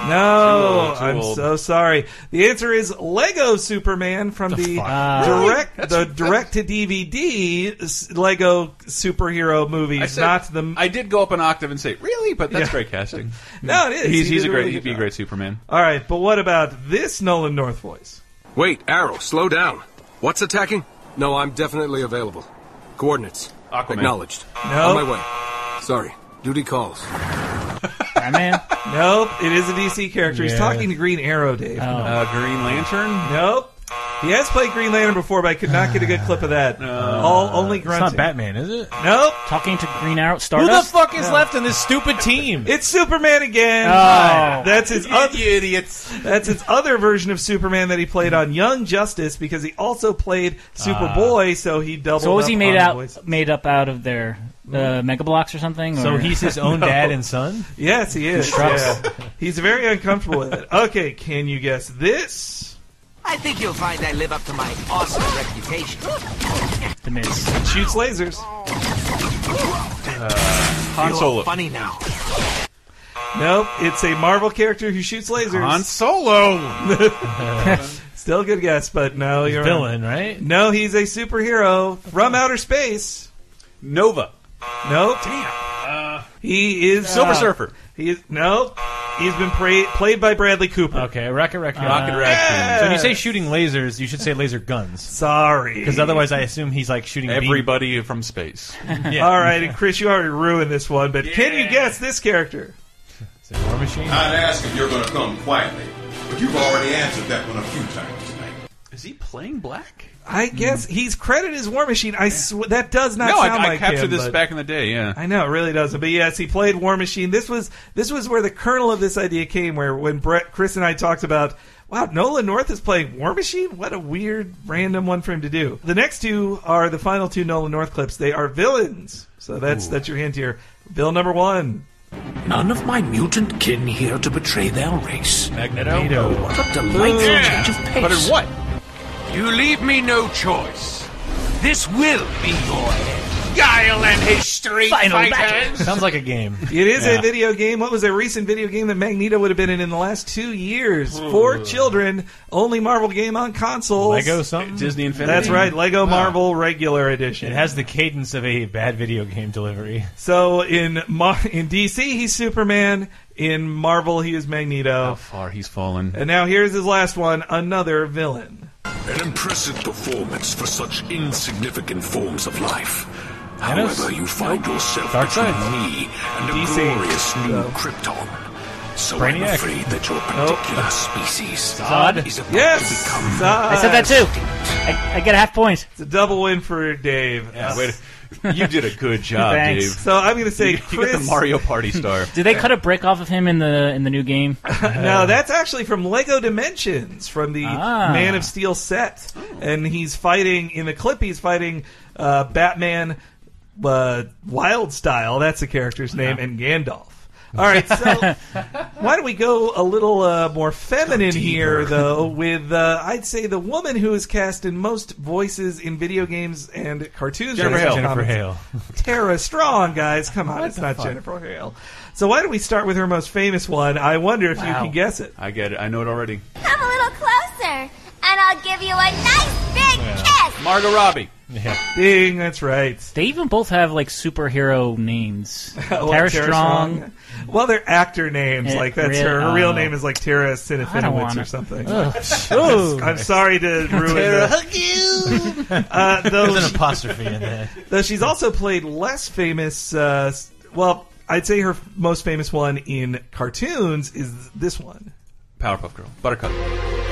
B: No,
A: Too old, too
B: I'm
A: old.
B: so sorry. The answer is Lego Superman from the,
C: fuck?
B: direct the direct to DVD s- Lego superhero
A: I
B: movies,
A: said-
B: not the.
A: I did go up an octave and say, really? But that's great casting.
B: no, it is.
A: He's,
B: He
A: he's
B: did
A: a great,
B: really
A: he'd
B: good
A: be a
B: job.
A: great Superman.
B: All right, but what about this Nolan North voice?
H: Wait, Arrow, slow down. What's attacking? No, I'm definitely available. Coordinates.
A: Aquaman.
H: Acknowledged.
B: No.
H: On my way. Sorry. Duty calls.
C: Batman?
B: Nope, it is a DC character. He's
D: Yeah.
B: talking to Green Arrow, Dave.
A: Uh, Green Lantern?
B: Nope. He has played Green Lantern before, but I could not get a good clip of that. All only
D: It's
B: grunting.
D: not Batman, is it?
B: Nope,
C: Talking to Green Arrow?
D: Who the
C: Stardust?
D: fuck is left in this stupid team?
B: it's Superman again.
C: Oh.
B: That's his other
A: You idiots.
B: That's its other version of Superman that he played on Young Justice because he also played Superboy, so he doubled.
C: Ah. so what was he
B: up
C: made
B: on
C: out
B: voice-
C: made up out of their uh, mega blocks or something?
D: Mm-hmm. so
C: or-
D: he's his own dad and son.
B: Yes, he is. Yeah. He's very uncomfortable with it. Okay, can you guess this?
I: I think you'll find I live up to my awesome reputation.
C: the Miz.
B: It shoots lasers.
A: Han
I: You're
A: Solo.
I: funny now.
B: Nope, it's a Marvel character who shoots lasers.
A: Han Solo.
B: Still a good guess, but no, you're
D: Villain, right?
B: No, he's a superhero from
D: Uh-huh.
B: outer space.
A: Nova.
B: Nope.
D: Uh,
B: he is uh,
A: Silver Surfer.
B: He is nope. He's been pra- played by Bradley Cooper.
D: Okay, Rocket
C: Uh,
D: Raccoon.
A: Rocket
B: yeah.
A: Raccoon.
D: When you say shooting lasers, you should say laser guns.
B: Sorry,
D: Because otherwise, I assume he's like shooting beam-
A: Everybody from space.
D: Yeah.
B: All right, and Chris, you already ruined this one, but can you guess this character?
D: Is it War Machine.
F: I'd ask if you're going to come quietly, but you've already answered that one a few times tonight.
A: Is he playing black?
B: I guess
D: Hmm.
B: he's credited as War Machine. I sw- that does not
A: No, I,
B: sound
A: I
B: like
A: captured
B: him,
A: this
B: but-
A: back in the day. Yeah.
B: I know it really doesn't, but yes, he played War Machine. This was this was where the kernel of this idea came, where when Brett, Chris, and I talked about, wow, Nolan North is playing War Machine. What a weird, random one for him to do. The next two are the final two Nolan North clips. They are villains, so that's that's your hint here. Bill number one.
G: None of my mutant kin here to betray their race.
D: Magneto.
G: What a delightful change of pace.
A: But in what?
H: You leave me no choice.
G: This will be your end. Guile and his street Final fighters.
D: Sounds like a game.
B: It is a video game. What was a recent video game that Magneto would have been in in the last two years? For children, only Marvel game on consoles.
D: Lego something.
A: Disney Infinity.
B: That's right, Lego Marvel Regular Edition.
D: It has the cadence of a bad video game delivery.
B: so in Mar- in DC he's Superman, in Marvel he is Magneto,
A: How
C: Oh.
A: far he's fallen.
B: and now here's his last one, another villain.
K: An impressive performance for such insignificant forms of life.
D: Thanos?
K: However, you find yourself
D: Dark
K: between
D: Side.
K: me and a
B: DC.
K: glorious new
B: So.
K: Krypton. So
D: Brainiac.
K: I'm afraid that your
A: Oh.
K: particular species
C: Zod?
K: is about
B: Yes,
K: to become
C: I said that too. I, I get a half point.
B: It's a double win for Dave. Uh,
A: Yeah, wait, you did a good
H: Oh,
A: job,
C: Thanks.
A: Dave.
B: So I'm going to
A: You,
B: say
A: you got
B: Chris.
A: the Mario Party star.
C: Did they cut a brick off of him in the in the new game?
B: No, that's actually from Lego Dimensions, from the
C: Ah.
B: Man of Steel set, and he's fighting in the clip. He's fighting uh, Batman, uh, Wild Style. That's the character's name, and Gandalf. All right, so why don't we go a little uh, more feminine here, though, with uh, I'd say the woman who is cast in most voices in video games and cartoons.
A: Jennifer Hale.
D: Jennifer Hale.
B: Tara Strong, guys. Come on, it's not Jennifer Hale. So why don't we start with her most famous one? I wonder if you
C: Wow.
B: can guess it.
A: I get it. I know it already.
L: Come a little closer, and I'll give you a nice big kiss.
A: Margot Robbie.
B: Ding, that's right.
C: They even both have like superhero names.
B: Well,
C: Tara Strong.
B: Well, they're actor names.
C: Eh,
B: like that's
C: really?
B: her. Her real
C: Oh.
B: name is like Tara
C: I don't
B: Sinifinowicz
C: want
B: or
C: it.
B: something.
C: Ooh.
B: I'm sorry to ruin the, uh, though,
D: There's an apostrophe in there.
B: though she's also played less famous. Uh, s- well, I'd say her most famous one in cartoons is this one.
A: Powerpuff Girl. Buttercup.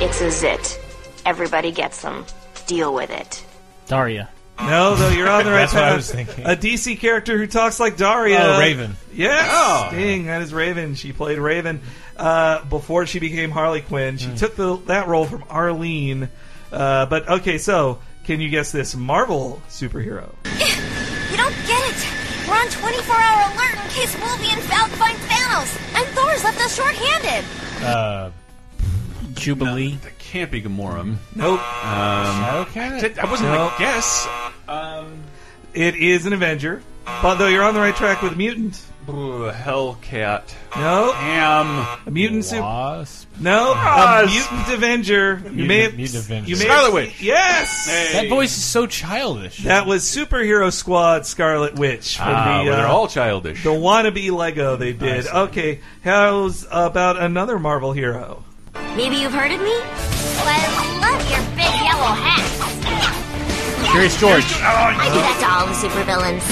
M: It's a zit. Everybody gets them. Deal with it.
C: Daria.
B: No, though you're on the right
C: That's what I
B: path.
C: was thinking.
B: A DC character who talks like Daria.
D: Oh, Raven.
B: Yes.
D: Oh.
B: Ding, that is Raven. She played Raven uh, before she became Harley Quinn.
C: Hmm.
B: She took the, that role from Arlene. Uh, but okay, so can you guess this Marvel superhero?
A: You don't get it. We're on 24-hour alert in case Wolvie and Falcon find Thanos, and Thor's left us short-handed.
H: Uh,
C: Jubilee.
H: that can't be Gamora.
B: Nope.
H: Um,
B: Okay.
H: I wasn't
B: No.
H: gonna guess. Um,
B: It is an Avenger. But though you're on the right track with mutant.
H: Ooh, Hellcat.
B: No.
H: Am
B: a mutant super. No, a
H: Wasp.
B: mutant Avenger. you may have
D: Mutant Avenger.
B: You may
D: Scarlet
B: have,
D: Witch.
B: Yes.
D: That voice is so childish.
B: That was superhero squad Scarlet Witch. From
H: Ah,
B: the,
H: well, they're
B: uh,
H: all childish.
B: The wannabe Lego they did. Okay, how's about another Marvel hero?
A: Maybe you've heard of me? Well, I love your big yellow hat.
C: Curious George.
A: I do that to all the supervillains.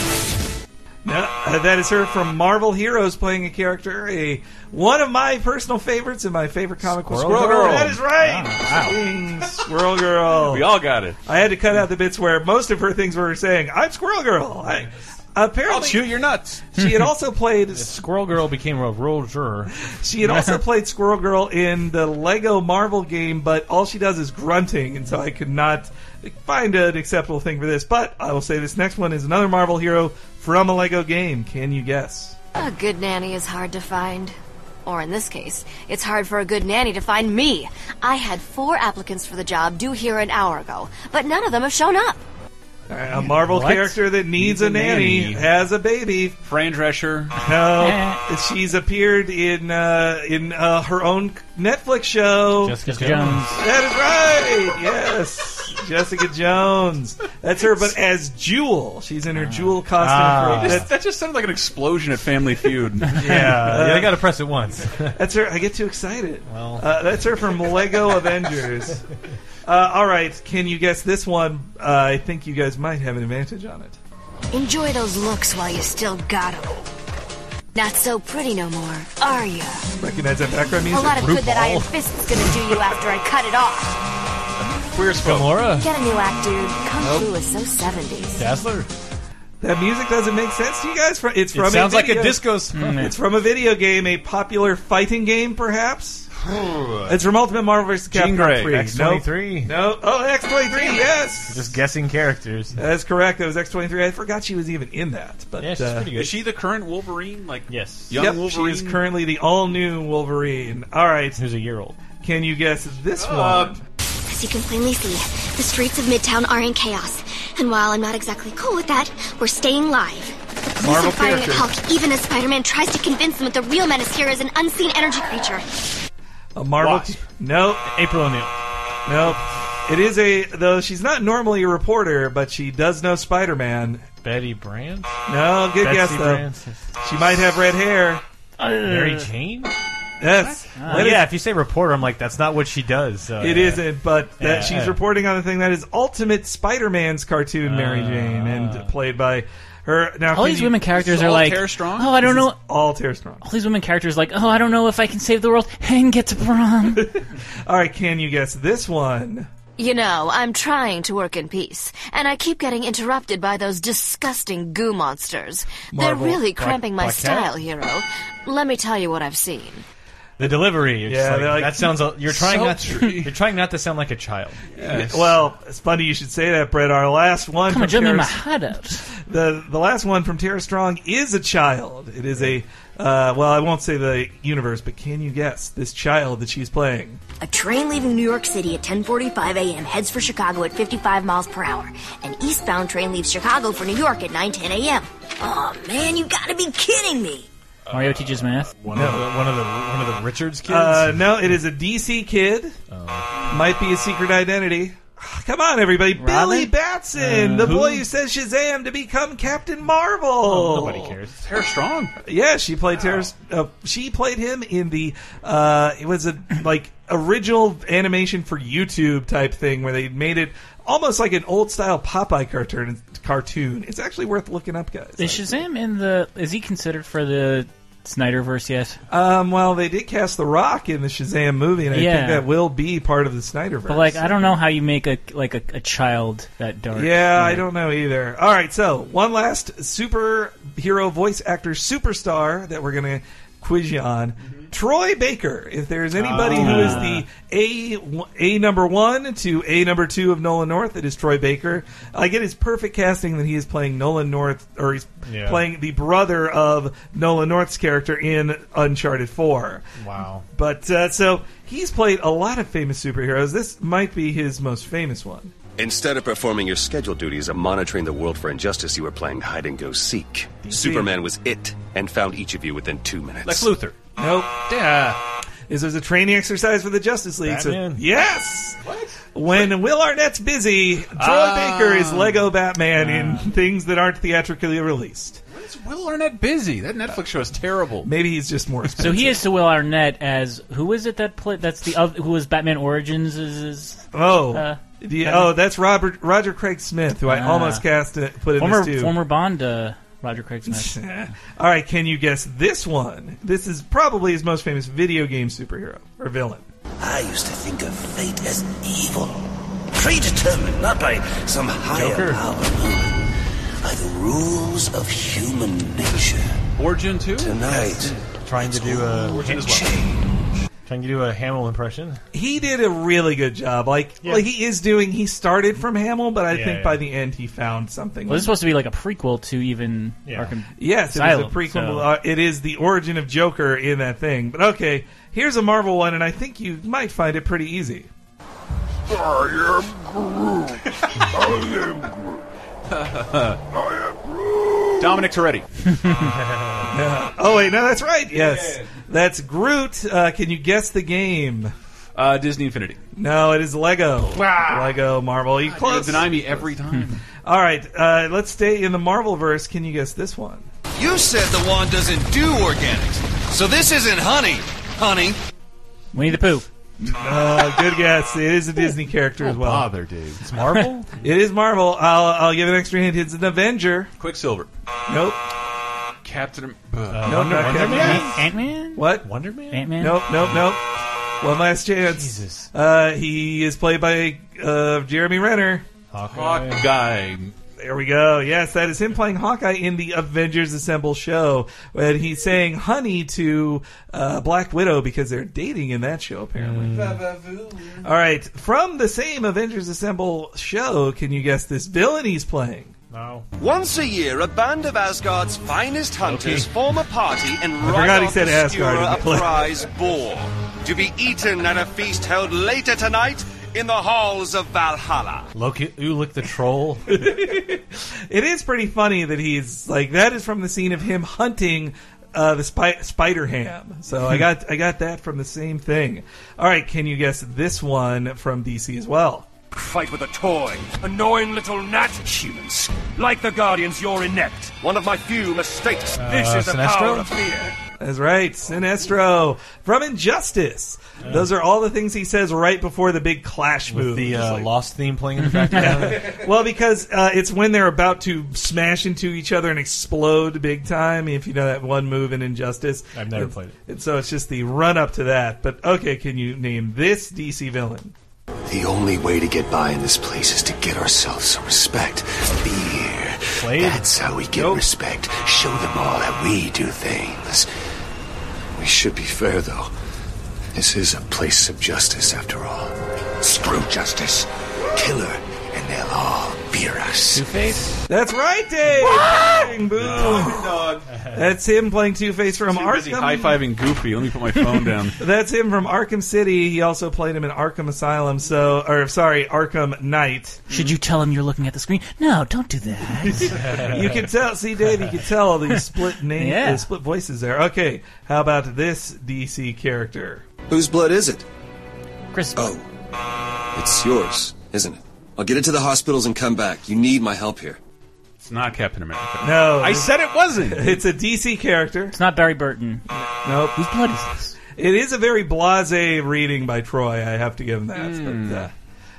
B: No, uh, that is her from Marvel Heroes playing a character, a one of my personal favorites and my favorite comic book.
H: Squirrel Girl. Ah,
B: That is right.
H: Wow.
B: Ding, Squirrel Girl.
H: We all got it.
B: I had to cut out the bits where most of her things were saying, "I'm Squirrel Girl." I, apparently, I'll shoot
H: your nuts.
B: She had also played
D: Squirrel Girl became a rural juror.
B: She had also played Squirrel Girl in the Lego Marvel game, but all she does is grunting, and so I could not find an acceptable thing for this. But I will say this next one is another Marvel hero from a Lego game. Can you guess?
I: A good nanny is hard to find. Or in this case, it's hard for a good nanny to find me. I had four applicants for the job due here an hour ago, but none of them have shown up.
B: All right, a Marvel
D: What?
B: character that needs, a nanny, has a baby.
H: Fran Drescher.
D: Eh.
B: No, she's appeared in uh, in uh, her own Netflix show.
D: Jessica Jones.
B: That is right. Yes, Jessica Jones. That's her, but as Jewel, she's in her Jewel costume.
H: Ah.
B: for,
H: That just- that just sounded like an explosion at Family Feud.
D: Yeah, yeah, I gotta press it once.
B: That's her. I get too excited. uh, that's her from Lego Avengers. Uh, all right, can you guess this one? Uh, I think you guys might have an advantage on it.
I: Enjoy those looks while you still got 'em. Not so pretty no more, are ya?
B: Recognize that background
I: A
B: music?
I: lot of good that iron fist is gonna do you after I cut it off.
H: Queer's
I: Get a new act, dude. Kung
B: Nope.
I: Fu is so 70s.
D: Dazzler.
B: That music doesn't make sense to you guys. Fr- It's
D: It
B: from
D: sounds like a
B: video-
D: disco song.
B: It's from a video game, a popular fighting game, perhaps. it's from Ultimate Marvel vs. Capcom
D: Jean Grey.
B: 3.
D: X-23.
B: No. no. Oh, X23. Yes.
D: Just guessing characters.
B: That's correct. That was X23. I forgot she was even in that. But
D: Yeah, she's
B: uh,
D: pretty good.
H: Is she the current Wolverine? Like yes, young
B: Yep,
H: Wolverine.
B: She is currently the all-new Wolverine. All right.
D: Who's a year old?
B: Can you guess this
H: Uh,
B: one?
A: As you can plainly see, the streets of Midtown are in chaos. And while I'm not exactly cool with that, we're staying live. The police
B: Marvel
A: are firing
B: character.
A: at Hulk even as Spider-Man tries to convince them that the real menace here is an unseen energy creature.
B: A Marvel?
D: Wasp.
B: No.
D: April O'Neil.
B: No. It is a though she's not normally a reporter, but she does know Spider-Man.
D: Betty Brand.
B: No, good
D: Betsy
B: guess though.
D: Branson.
B: She might have red hair.
D: Mary
B: Uh,
D: Jane.
B: Yes.
D: Uh,
B: That is-
D: yeah, if you say reporter, I'm like, that's not what she does. So,
B: It not but that
D: Oh, Yeah,
B: she's
D: yeah.
B: reporting on the thing that is Ultimate Spider-Man's cartoon Mary
D: Ah.
B: Jane, and played by her. Now,
C: All
B: can
C: these
B: you-
C: women characters are like, oh, I don't
B: This is
C: know.
B: all Tara Strong.
C: All these women characters like, oh, I don't know if I can save the world and get to prom.
B: All right, can you guess this one?
I: You know, I'm trying to work in peace, and I keep getting interrupted by those disgusting goo monsters.
B: Marvel,
I: They're really
B: Black-
I: cramping my
D: Black Cat?
I: style, hero. Let me tell you what I've seen.
D: The delivery. You're
B: Yeah,
D: just
B: they're
D: like,
B: like-
D: that sounds. a- You're trying not. To,
B: Sultry.
D: you're trying not to sound like a child.
B: Well, it's funny you should say that, Brett. Our last one.
C: Come on,
B: from
C: jump me
B: Tara-
C: my hot ups.
B: the the last one from Tara Strong is a child. It is a uh, well, I won't say the universe, but can you guess this child that she's playing?
N: A train leaving New York City at 10:45 a.m. heads for Chicago at 55 miles per hour. An eastbound train leaves Chicago for New York at 9:10 a.m. Oh man, you gotta be kidding me!
C: Mario teaches math.
D: One of the one of the one of the Richards kids.
B: Uh, no, it is a DC kid. Might be a secret identity. Come on, everybody! Billy Batson, the boy who says Shazam to become Captain Marvel.
D: nobody cares.
H: Tara Strong.
B: Yeah, she played Terrace. Uh, she played him in the. Uh, it was a like original animation for YouTube type thing where they made it almost like an old style Popeye cartoon. Cartoon. It's actually worth looking up, guys.
C: Is Shazam in the? Is he considered for the Snyderverse yet.
B: Um, well, they did cast The Rock in the Shazam movie, and I
C: Yeah.
B: think that will be part of the Snyderverse.
C: But like, I don't know how you make a like a, a child that dark.
B: Yeah, I don't know either. All right, so one last superhero voice actor superstar that we're going to quiz you on. Troy Baker. If there is anybody who is the A A number 1 to A number 2 of Nolan North, it is Troy Baker. I get his perfect casting that he is playing Nolan North or he's
D: Yeah.
B: playing the brother of Nolan North's character in Uncharted 4.
D: Wow.
B: But uh, so he's played a lot of famous superheroes. This might be his most famous one.
O: Instead of performing your scheduled duties of monitoring the world for injustice, you were playing hide and go seek. Superman was it and found each of you within two minutes.
B: Lex Luthor. Nope. Yeah. This was a training exercise for the Justice League. so-
O: Batman?
B: yes. When Will Arnett's busy, Troy
D: Ah.
B: Baker is Lego Batman in things that aren't theatrically released.
A: Will Arnett busy? That Netflix show is terrible.
B: Maybe he's just more
C: So
B: expensive.
C: he is to Will Arnett as who is it that play, that's the other who was Batman Origins is, is
B: Oh.
C: uh,
B: The-
C: Batman-
B: oh, that's Robert Roger Craig Smith, who I
C: Ah.
B: almost cast it, put in
C: former
B: this too.
C: former Bond uh, Roger Craig Smith.
B: All right, can you guess this one? This is probably his most famous video game superhero or villain.
J: I used to think of fate as evil, predetermined not by some higher
B: Joker.
J: power, by the rules of human nature.
A: Origin too.
J: Tonight,
D: trying to do a
A: Origin as
D: trying to do a Hamill impression.
B: He did a really good job. Like,
D: Yeah.
B: like he is doing. He started from Hamill, but I
C: Yeah,
B: think
C: yeah.
B: by the end he found something.
C: Well, this is supposed to be like a prequel to even Arkham.
B: Yes, it is
C: Asylum,
B: a prequel.
C: so-
B: Uh, it is the origin of Joker in that thing. But okay, here's a Marvel one, and I think you might find it pretty easy.
P: Oh,
G: I am Groot. I am Groot.
A: Dominic Toretti.
B: Yeah. Oh wait, no, that's right. Yes, that's Groot. Uh, can you guess the game?
A: Uh, Disney Infinity.
B: No, it is Lego.
A: Wow.
B: Lego Marvel. You
A: You'll
B: close.
A: deny me every time.
B: All right, uh, let's stay in the Marvel verse. Can you guess this one?
Q: You said the wand doesn't do organics, so this isn't honey. Honey.
C: Winnie the Pooh.
B: Uh, good guess. It is a Disney character as well.
A: Oh, bother, Dave. It's
D: Marvel?
B: it is Marvel. I'll, I'll give an extra hint. It's an Avenger.
A: Quicksilver.
B: Nope.
A: Captain. Uh,
B: Nope, not Captain America.
C: Man?
B: What?
D: Wonder Man?
C: Ant-Man?
B: Nope, nope, nope. One last chance. Jesus. Uh, he is played by uh, Jeremy Renner.
A: Hawkeye. Hawkeye.
B: There we go. Yes, that is him playing Hawkeye in the Avengers Assemble show. When he's saying honey to uh, Black Widow because they're dating in that show, apparently. All right. From the same Avengers Assemble show, can you guess this villain he's playing?
D: No.
Q: Once a year, a band of Asgard's finest hunters form a party and
B: forgot
Q: ride
B: he
Q: off
B: said
Q: to
B: Asgard
Q: skewer
B: in the
Q: a
B: play.
Q: prize boar to be eaten at a feast held later tonight in the halls of Valhalla.
D: Loki Ulick the troll.
B: It is pretty funny that he's like that is from the scene of him hunting uh, the spy- spider ham. So I got I got that from the same thing. All right, can you guess this one from DC as well?
P: Fight with a toy, annoying little gnat humans. Like the Guardians, you're inept. One of my few mistakes.
B: Uh,
P: this is the power of fear.
B: That's right, Sinestro from Injustice. Those are all the things he says right before the big clash
D: With
B: move.
D: the
B: It's
D: uh,
B: like-
D: Lost theme playing in the background.
B: well, because uh, it's when they're about to smash into each other and explode big time. If you know that one move in Injustice,
D: I've never played it.
B: And so it's just the run up to that. But okay, can you name this DC villain?
J: the only way to get by in this place is to get ourselves some respect. Be here. That's how we get respect. Show them all that we do things. We should be fair, though. This is a place of justice, after all. Screw justice. Kill her, and they'll all fear us.
B: Face. That's right, Dave. Bang, boom. That's him playing Two Face from
A: Too busy
B: Arkham.
A: high fiving Goofy. Let me put my phone down.
B: That's him from Arkham City. He also played him in Arkham Asylum. So, or sorry, Arkham Knight.
C: Should you tell him you're looking at the screen? No, don't do that.
B: you can tell. See, Dave, you can tell all these split names,
C: Yeah.
B: the split voices there. Okay, how about this DC character?
Q: Whose blood is it?
C: Chris.
Q: Oh.
O: It's yours, isn't it? I'll get it to the hospitals and come back. You need my help here.
A: It's not Captain America.
B: No,
A: I said it wasn't.
B: It's a DC character. It's
C: not Barry Burton.
B: Nope.
C: Whose blood is this?
B: It is a very blasé reading by Troy. I
H: Hmm.
B: have to give him that.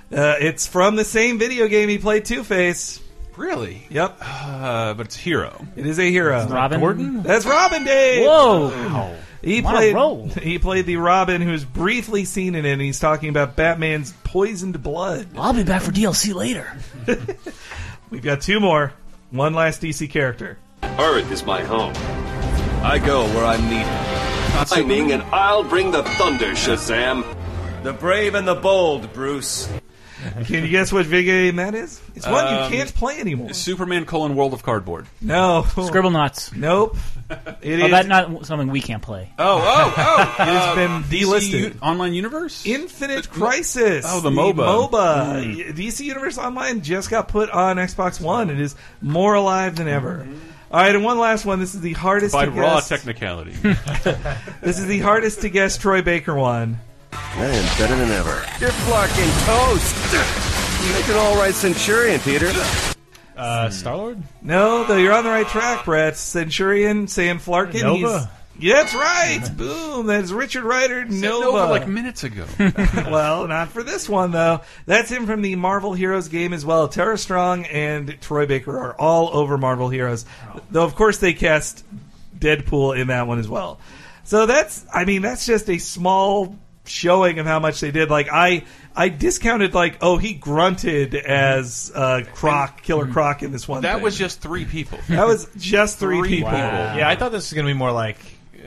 B: But, uh, uh, it's from the same video game he played, Two Face.
H: Really?
B: Yep.
H: Uh, but it's Hero.
B: It is a hero.
H: It's Robin? Gordon?
B: That's Robin Dave.
H: Whoa.
B: Wow.
H: Wow.
B: He
H: What a
B: played.
H: role.
B: He played the Robin who's briefly seen in it. and He's talking about Batman's poisoned blood.
C: I'll be back for DLC later.
B: We've got two more. One last DC character.
J: Earth is my home. I go where I'm needed. Lightning, and I'll bring the thunder, Shazam. The brave and the bold, Bruce.
B: Can you guess what video game that is? It's one you can't play anymore.
H: Superman colon World of Cardboard.
B: No.
C: Scribble knots.
B: Nope. It
C: oh,
B: is-
C: that's not something we can't play.
H: Oh, oh, oh!
B: It has
H: Uh,
B: been
H: DC
B: delisted.
H: U- Online Universe?
B: Infinite Crisis.
H: Oh, the MOBA. Hmm.
B: MOBA. DC Universe Online just got put on Xbox One. It is more alive than ever. All right, and one last one. This is the hardest
H: By
B: to
H: Mm-hmm. raw
B: guess.
H: technicality.
B: this is the hardest to guess Troy Baker one.
Q: I am better than ever. You're fucking toast. You make an all right centurion, Peter.
D: Uh, Star Lord?
B: No, though you're on the right track, Brett. Centurion, Sam Flarkin.
D: Nova.
B: he's- Yeah, that's right. Boom. That's Richard Ryder. Nova.
H: Nova like minutes ago.
B: well, not for this one though. That's him from the Marvel Heroes game as well. Tara Strong and Troy Baker are all over Marvel Heroes, though of course they cast Deadpool in that one as well. So that's, I mean, that's just a small showing of how much they did. Like I, I discounted like, oh, he grunted as uh, Croc, Killer Croc in this one.
H: That
B: thing.
H: was just three people.
B: That was just three, people.
D: Yeah, I thought this was going to be more like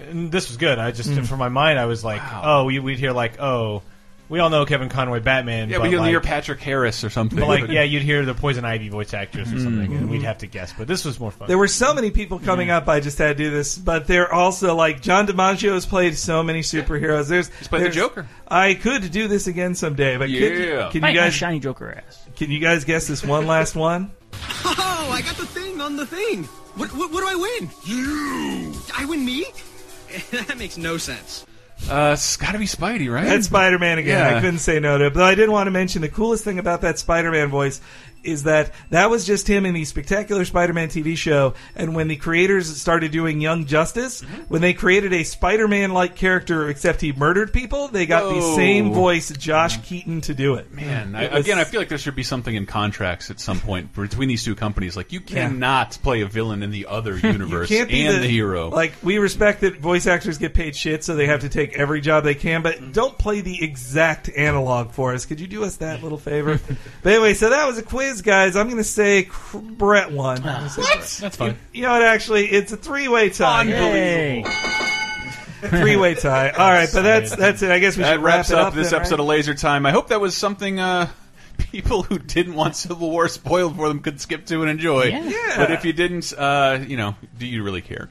D: and this was good. I just for my mind, I was like, oh, we, we'd hear like, oh, we all know Kevin Conroy Batman.
H: Yeah,
D: but
H: we can
D: like,
H: hear Patrick Harris or something.
D: But like, yeah, you'd hear the Poison Ivy voice actress or something, and we'd
B: Mhm.
D: have to guess. But this was more fun.
B: There were so many people coming up. I just had to do this, but they're also like John DiMaggio has played so many superheroes. There's
H: played the
B: there's-
H: Joker.
B: I could do this again someday, but
H: Yeah.
B: could, can
C: Fight
B: you
C: my
B: guys
C: shiny Joker ass?
B: Can you guys guess this one last one?
R: Oh, I got the thing on the thing. What, what, what do I win? You. I win me? that makes no sense.
H: Uh, it's got to be Spidey, right?
B: That's Spider Man again.
H: Yeah.
B: I couldn't say no to it. But I did want to mention the coolest thing about that Spider Man voice is that that was just him in the spectacular Spider Man TV show. And when the creators started doing Young Justice,
H: Mm-hmm.
B: when they created a Spider Man like character, except he murdered people, they got the
H: Whoa.
B: same voice, Josh Keaton, to do it.
H: Man, I,
B: It was-
H: again, I feel like there should be something in contracts at some point between these two companies. Like, you
B: Yeah.
H: cannot play a villain in the other universe
B: can't be
H: and the, hero.
B: Like we respect that voice actors get paid shit, so they have to take every job they can. But don't play the exact analog for us. Could you do us that little favor? but anyway, so that was a quiz, guys. I'm going to say cr- Brett won. I'm gonna say Brett.
D: That's fine.
B: You know what? Actually, it's a three way tie.
H: Unbelievable.
B: three way tie. All right, but that's that's it. I guess we
H: that
B: should wrap
H: wraps
B: it
H: up,
B: up,
H: this
B: then,
H: episode
B: right?
H: of Laser Time. I hope that was something uh, people who didn't want Civil War spoiled for them could skip to and enjoy.
B: Yeah. Yeah.
H: But if you didn't, uh, you know, do you really care?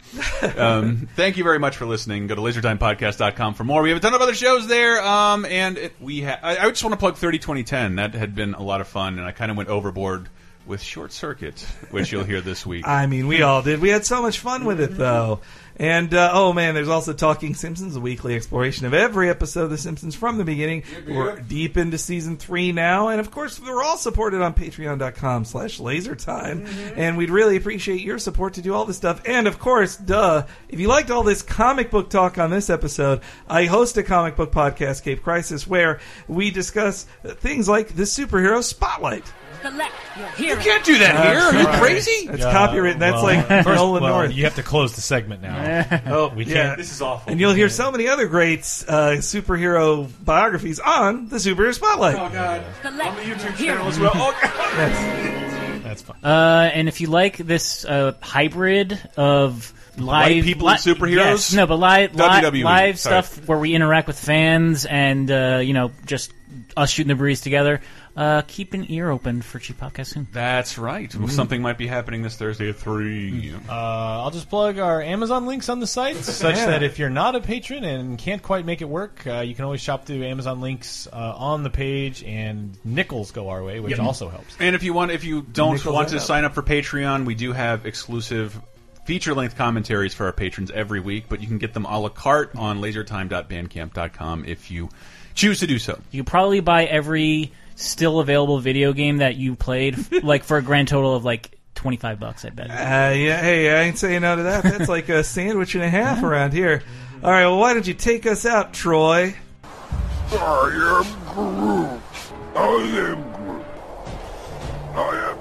H: um, thank you very much for listening. Go to lasertimepodcast.com for more. We have a ton of other shows there, um, and it, we ha I, I just want to plug thirty twenty ten. That had been a lot of fun, and I kind of went overboard with Short Circuit, which you'll hear this week.
B: I mean, we all did. We had so much fun with it, though. And uh, oh man, there's also Talking Simpsons, a weekly exploration of every episode of The Simpsons from the beginning. We're deep into season three now, and of course, we're all supported on Patreon.com/slash LaserTime. And we'd really appreciate your support to do all this stuff. And of course, duh, if you liked all this comic book talk on this episode, I host a comic book podcast, Cape Crisis, where we discuss uh, things like the superhero spotlight.
I: The left,
H: You can't do that here. Are you crazy?
B: That's copyright. That's like Nolan
D: well,
B: North.
D: You have to close the segment now.
B: Oh,
D: we can't.
B: yeah. And you'll hear so many other great uh, superhero biographies on the Superhero Spotlight.
H: God.
I: the left, on the YouTube channel
H: as well.
D: That's fun.
C: Uh, and if you like this uh, hybrid of live
H: White people and superheroes?
C: yes, no, but live
H: WWE,
C: live
H: sorry.
C: stuff where we interact with fans and uh, you know just us shooting the breeze together. Uh, keep an ear open for Cheap Podcast soon.
H: That's right.
B: Mm-hmm.
H: Something might be happening this Thursday at
B: Mm.
H: three.
D: Uh, I'll just plug our Amazon links on the site, such
H: Yeah.
D: that if you're not a patron and can't quite make it work, uh, you can always shop through Amazon links uh, on the page, and nickels go our way, which
H: Yep.
D: also helps.
H: And if you want, if you don't
D: Nickels
H: want to
D: out.
H: sign up for Patreon, we do have exclusive feature-length commentaries for our patrons every week, but you can get them a la carte on lasertime.bandcamp.com if you choose to do so.
C: You probably buy every still available video game that you played, like for a grand total of like twenty five bucks. I bet.
B: Uh, yeah, hey, I ain't saying no to that. That's like a sandwich and a half around here. All right, well, why don't you take us out, Troy?
J: I am Groot. I am Groot. I am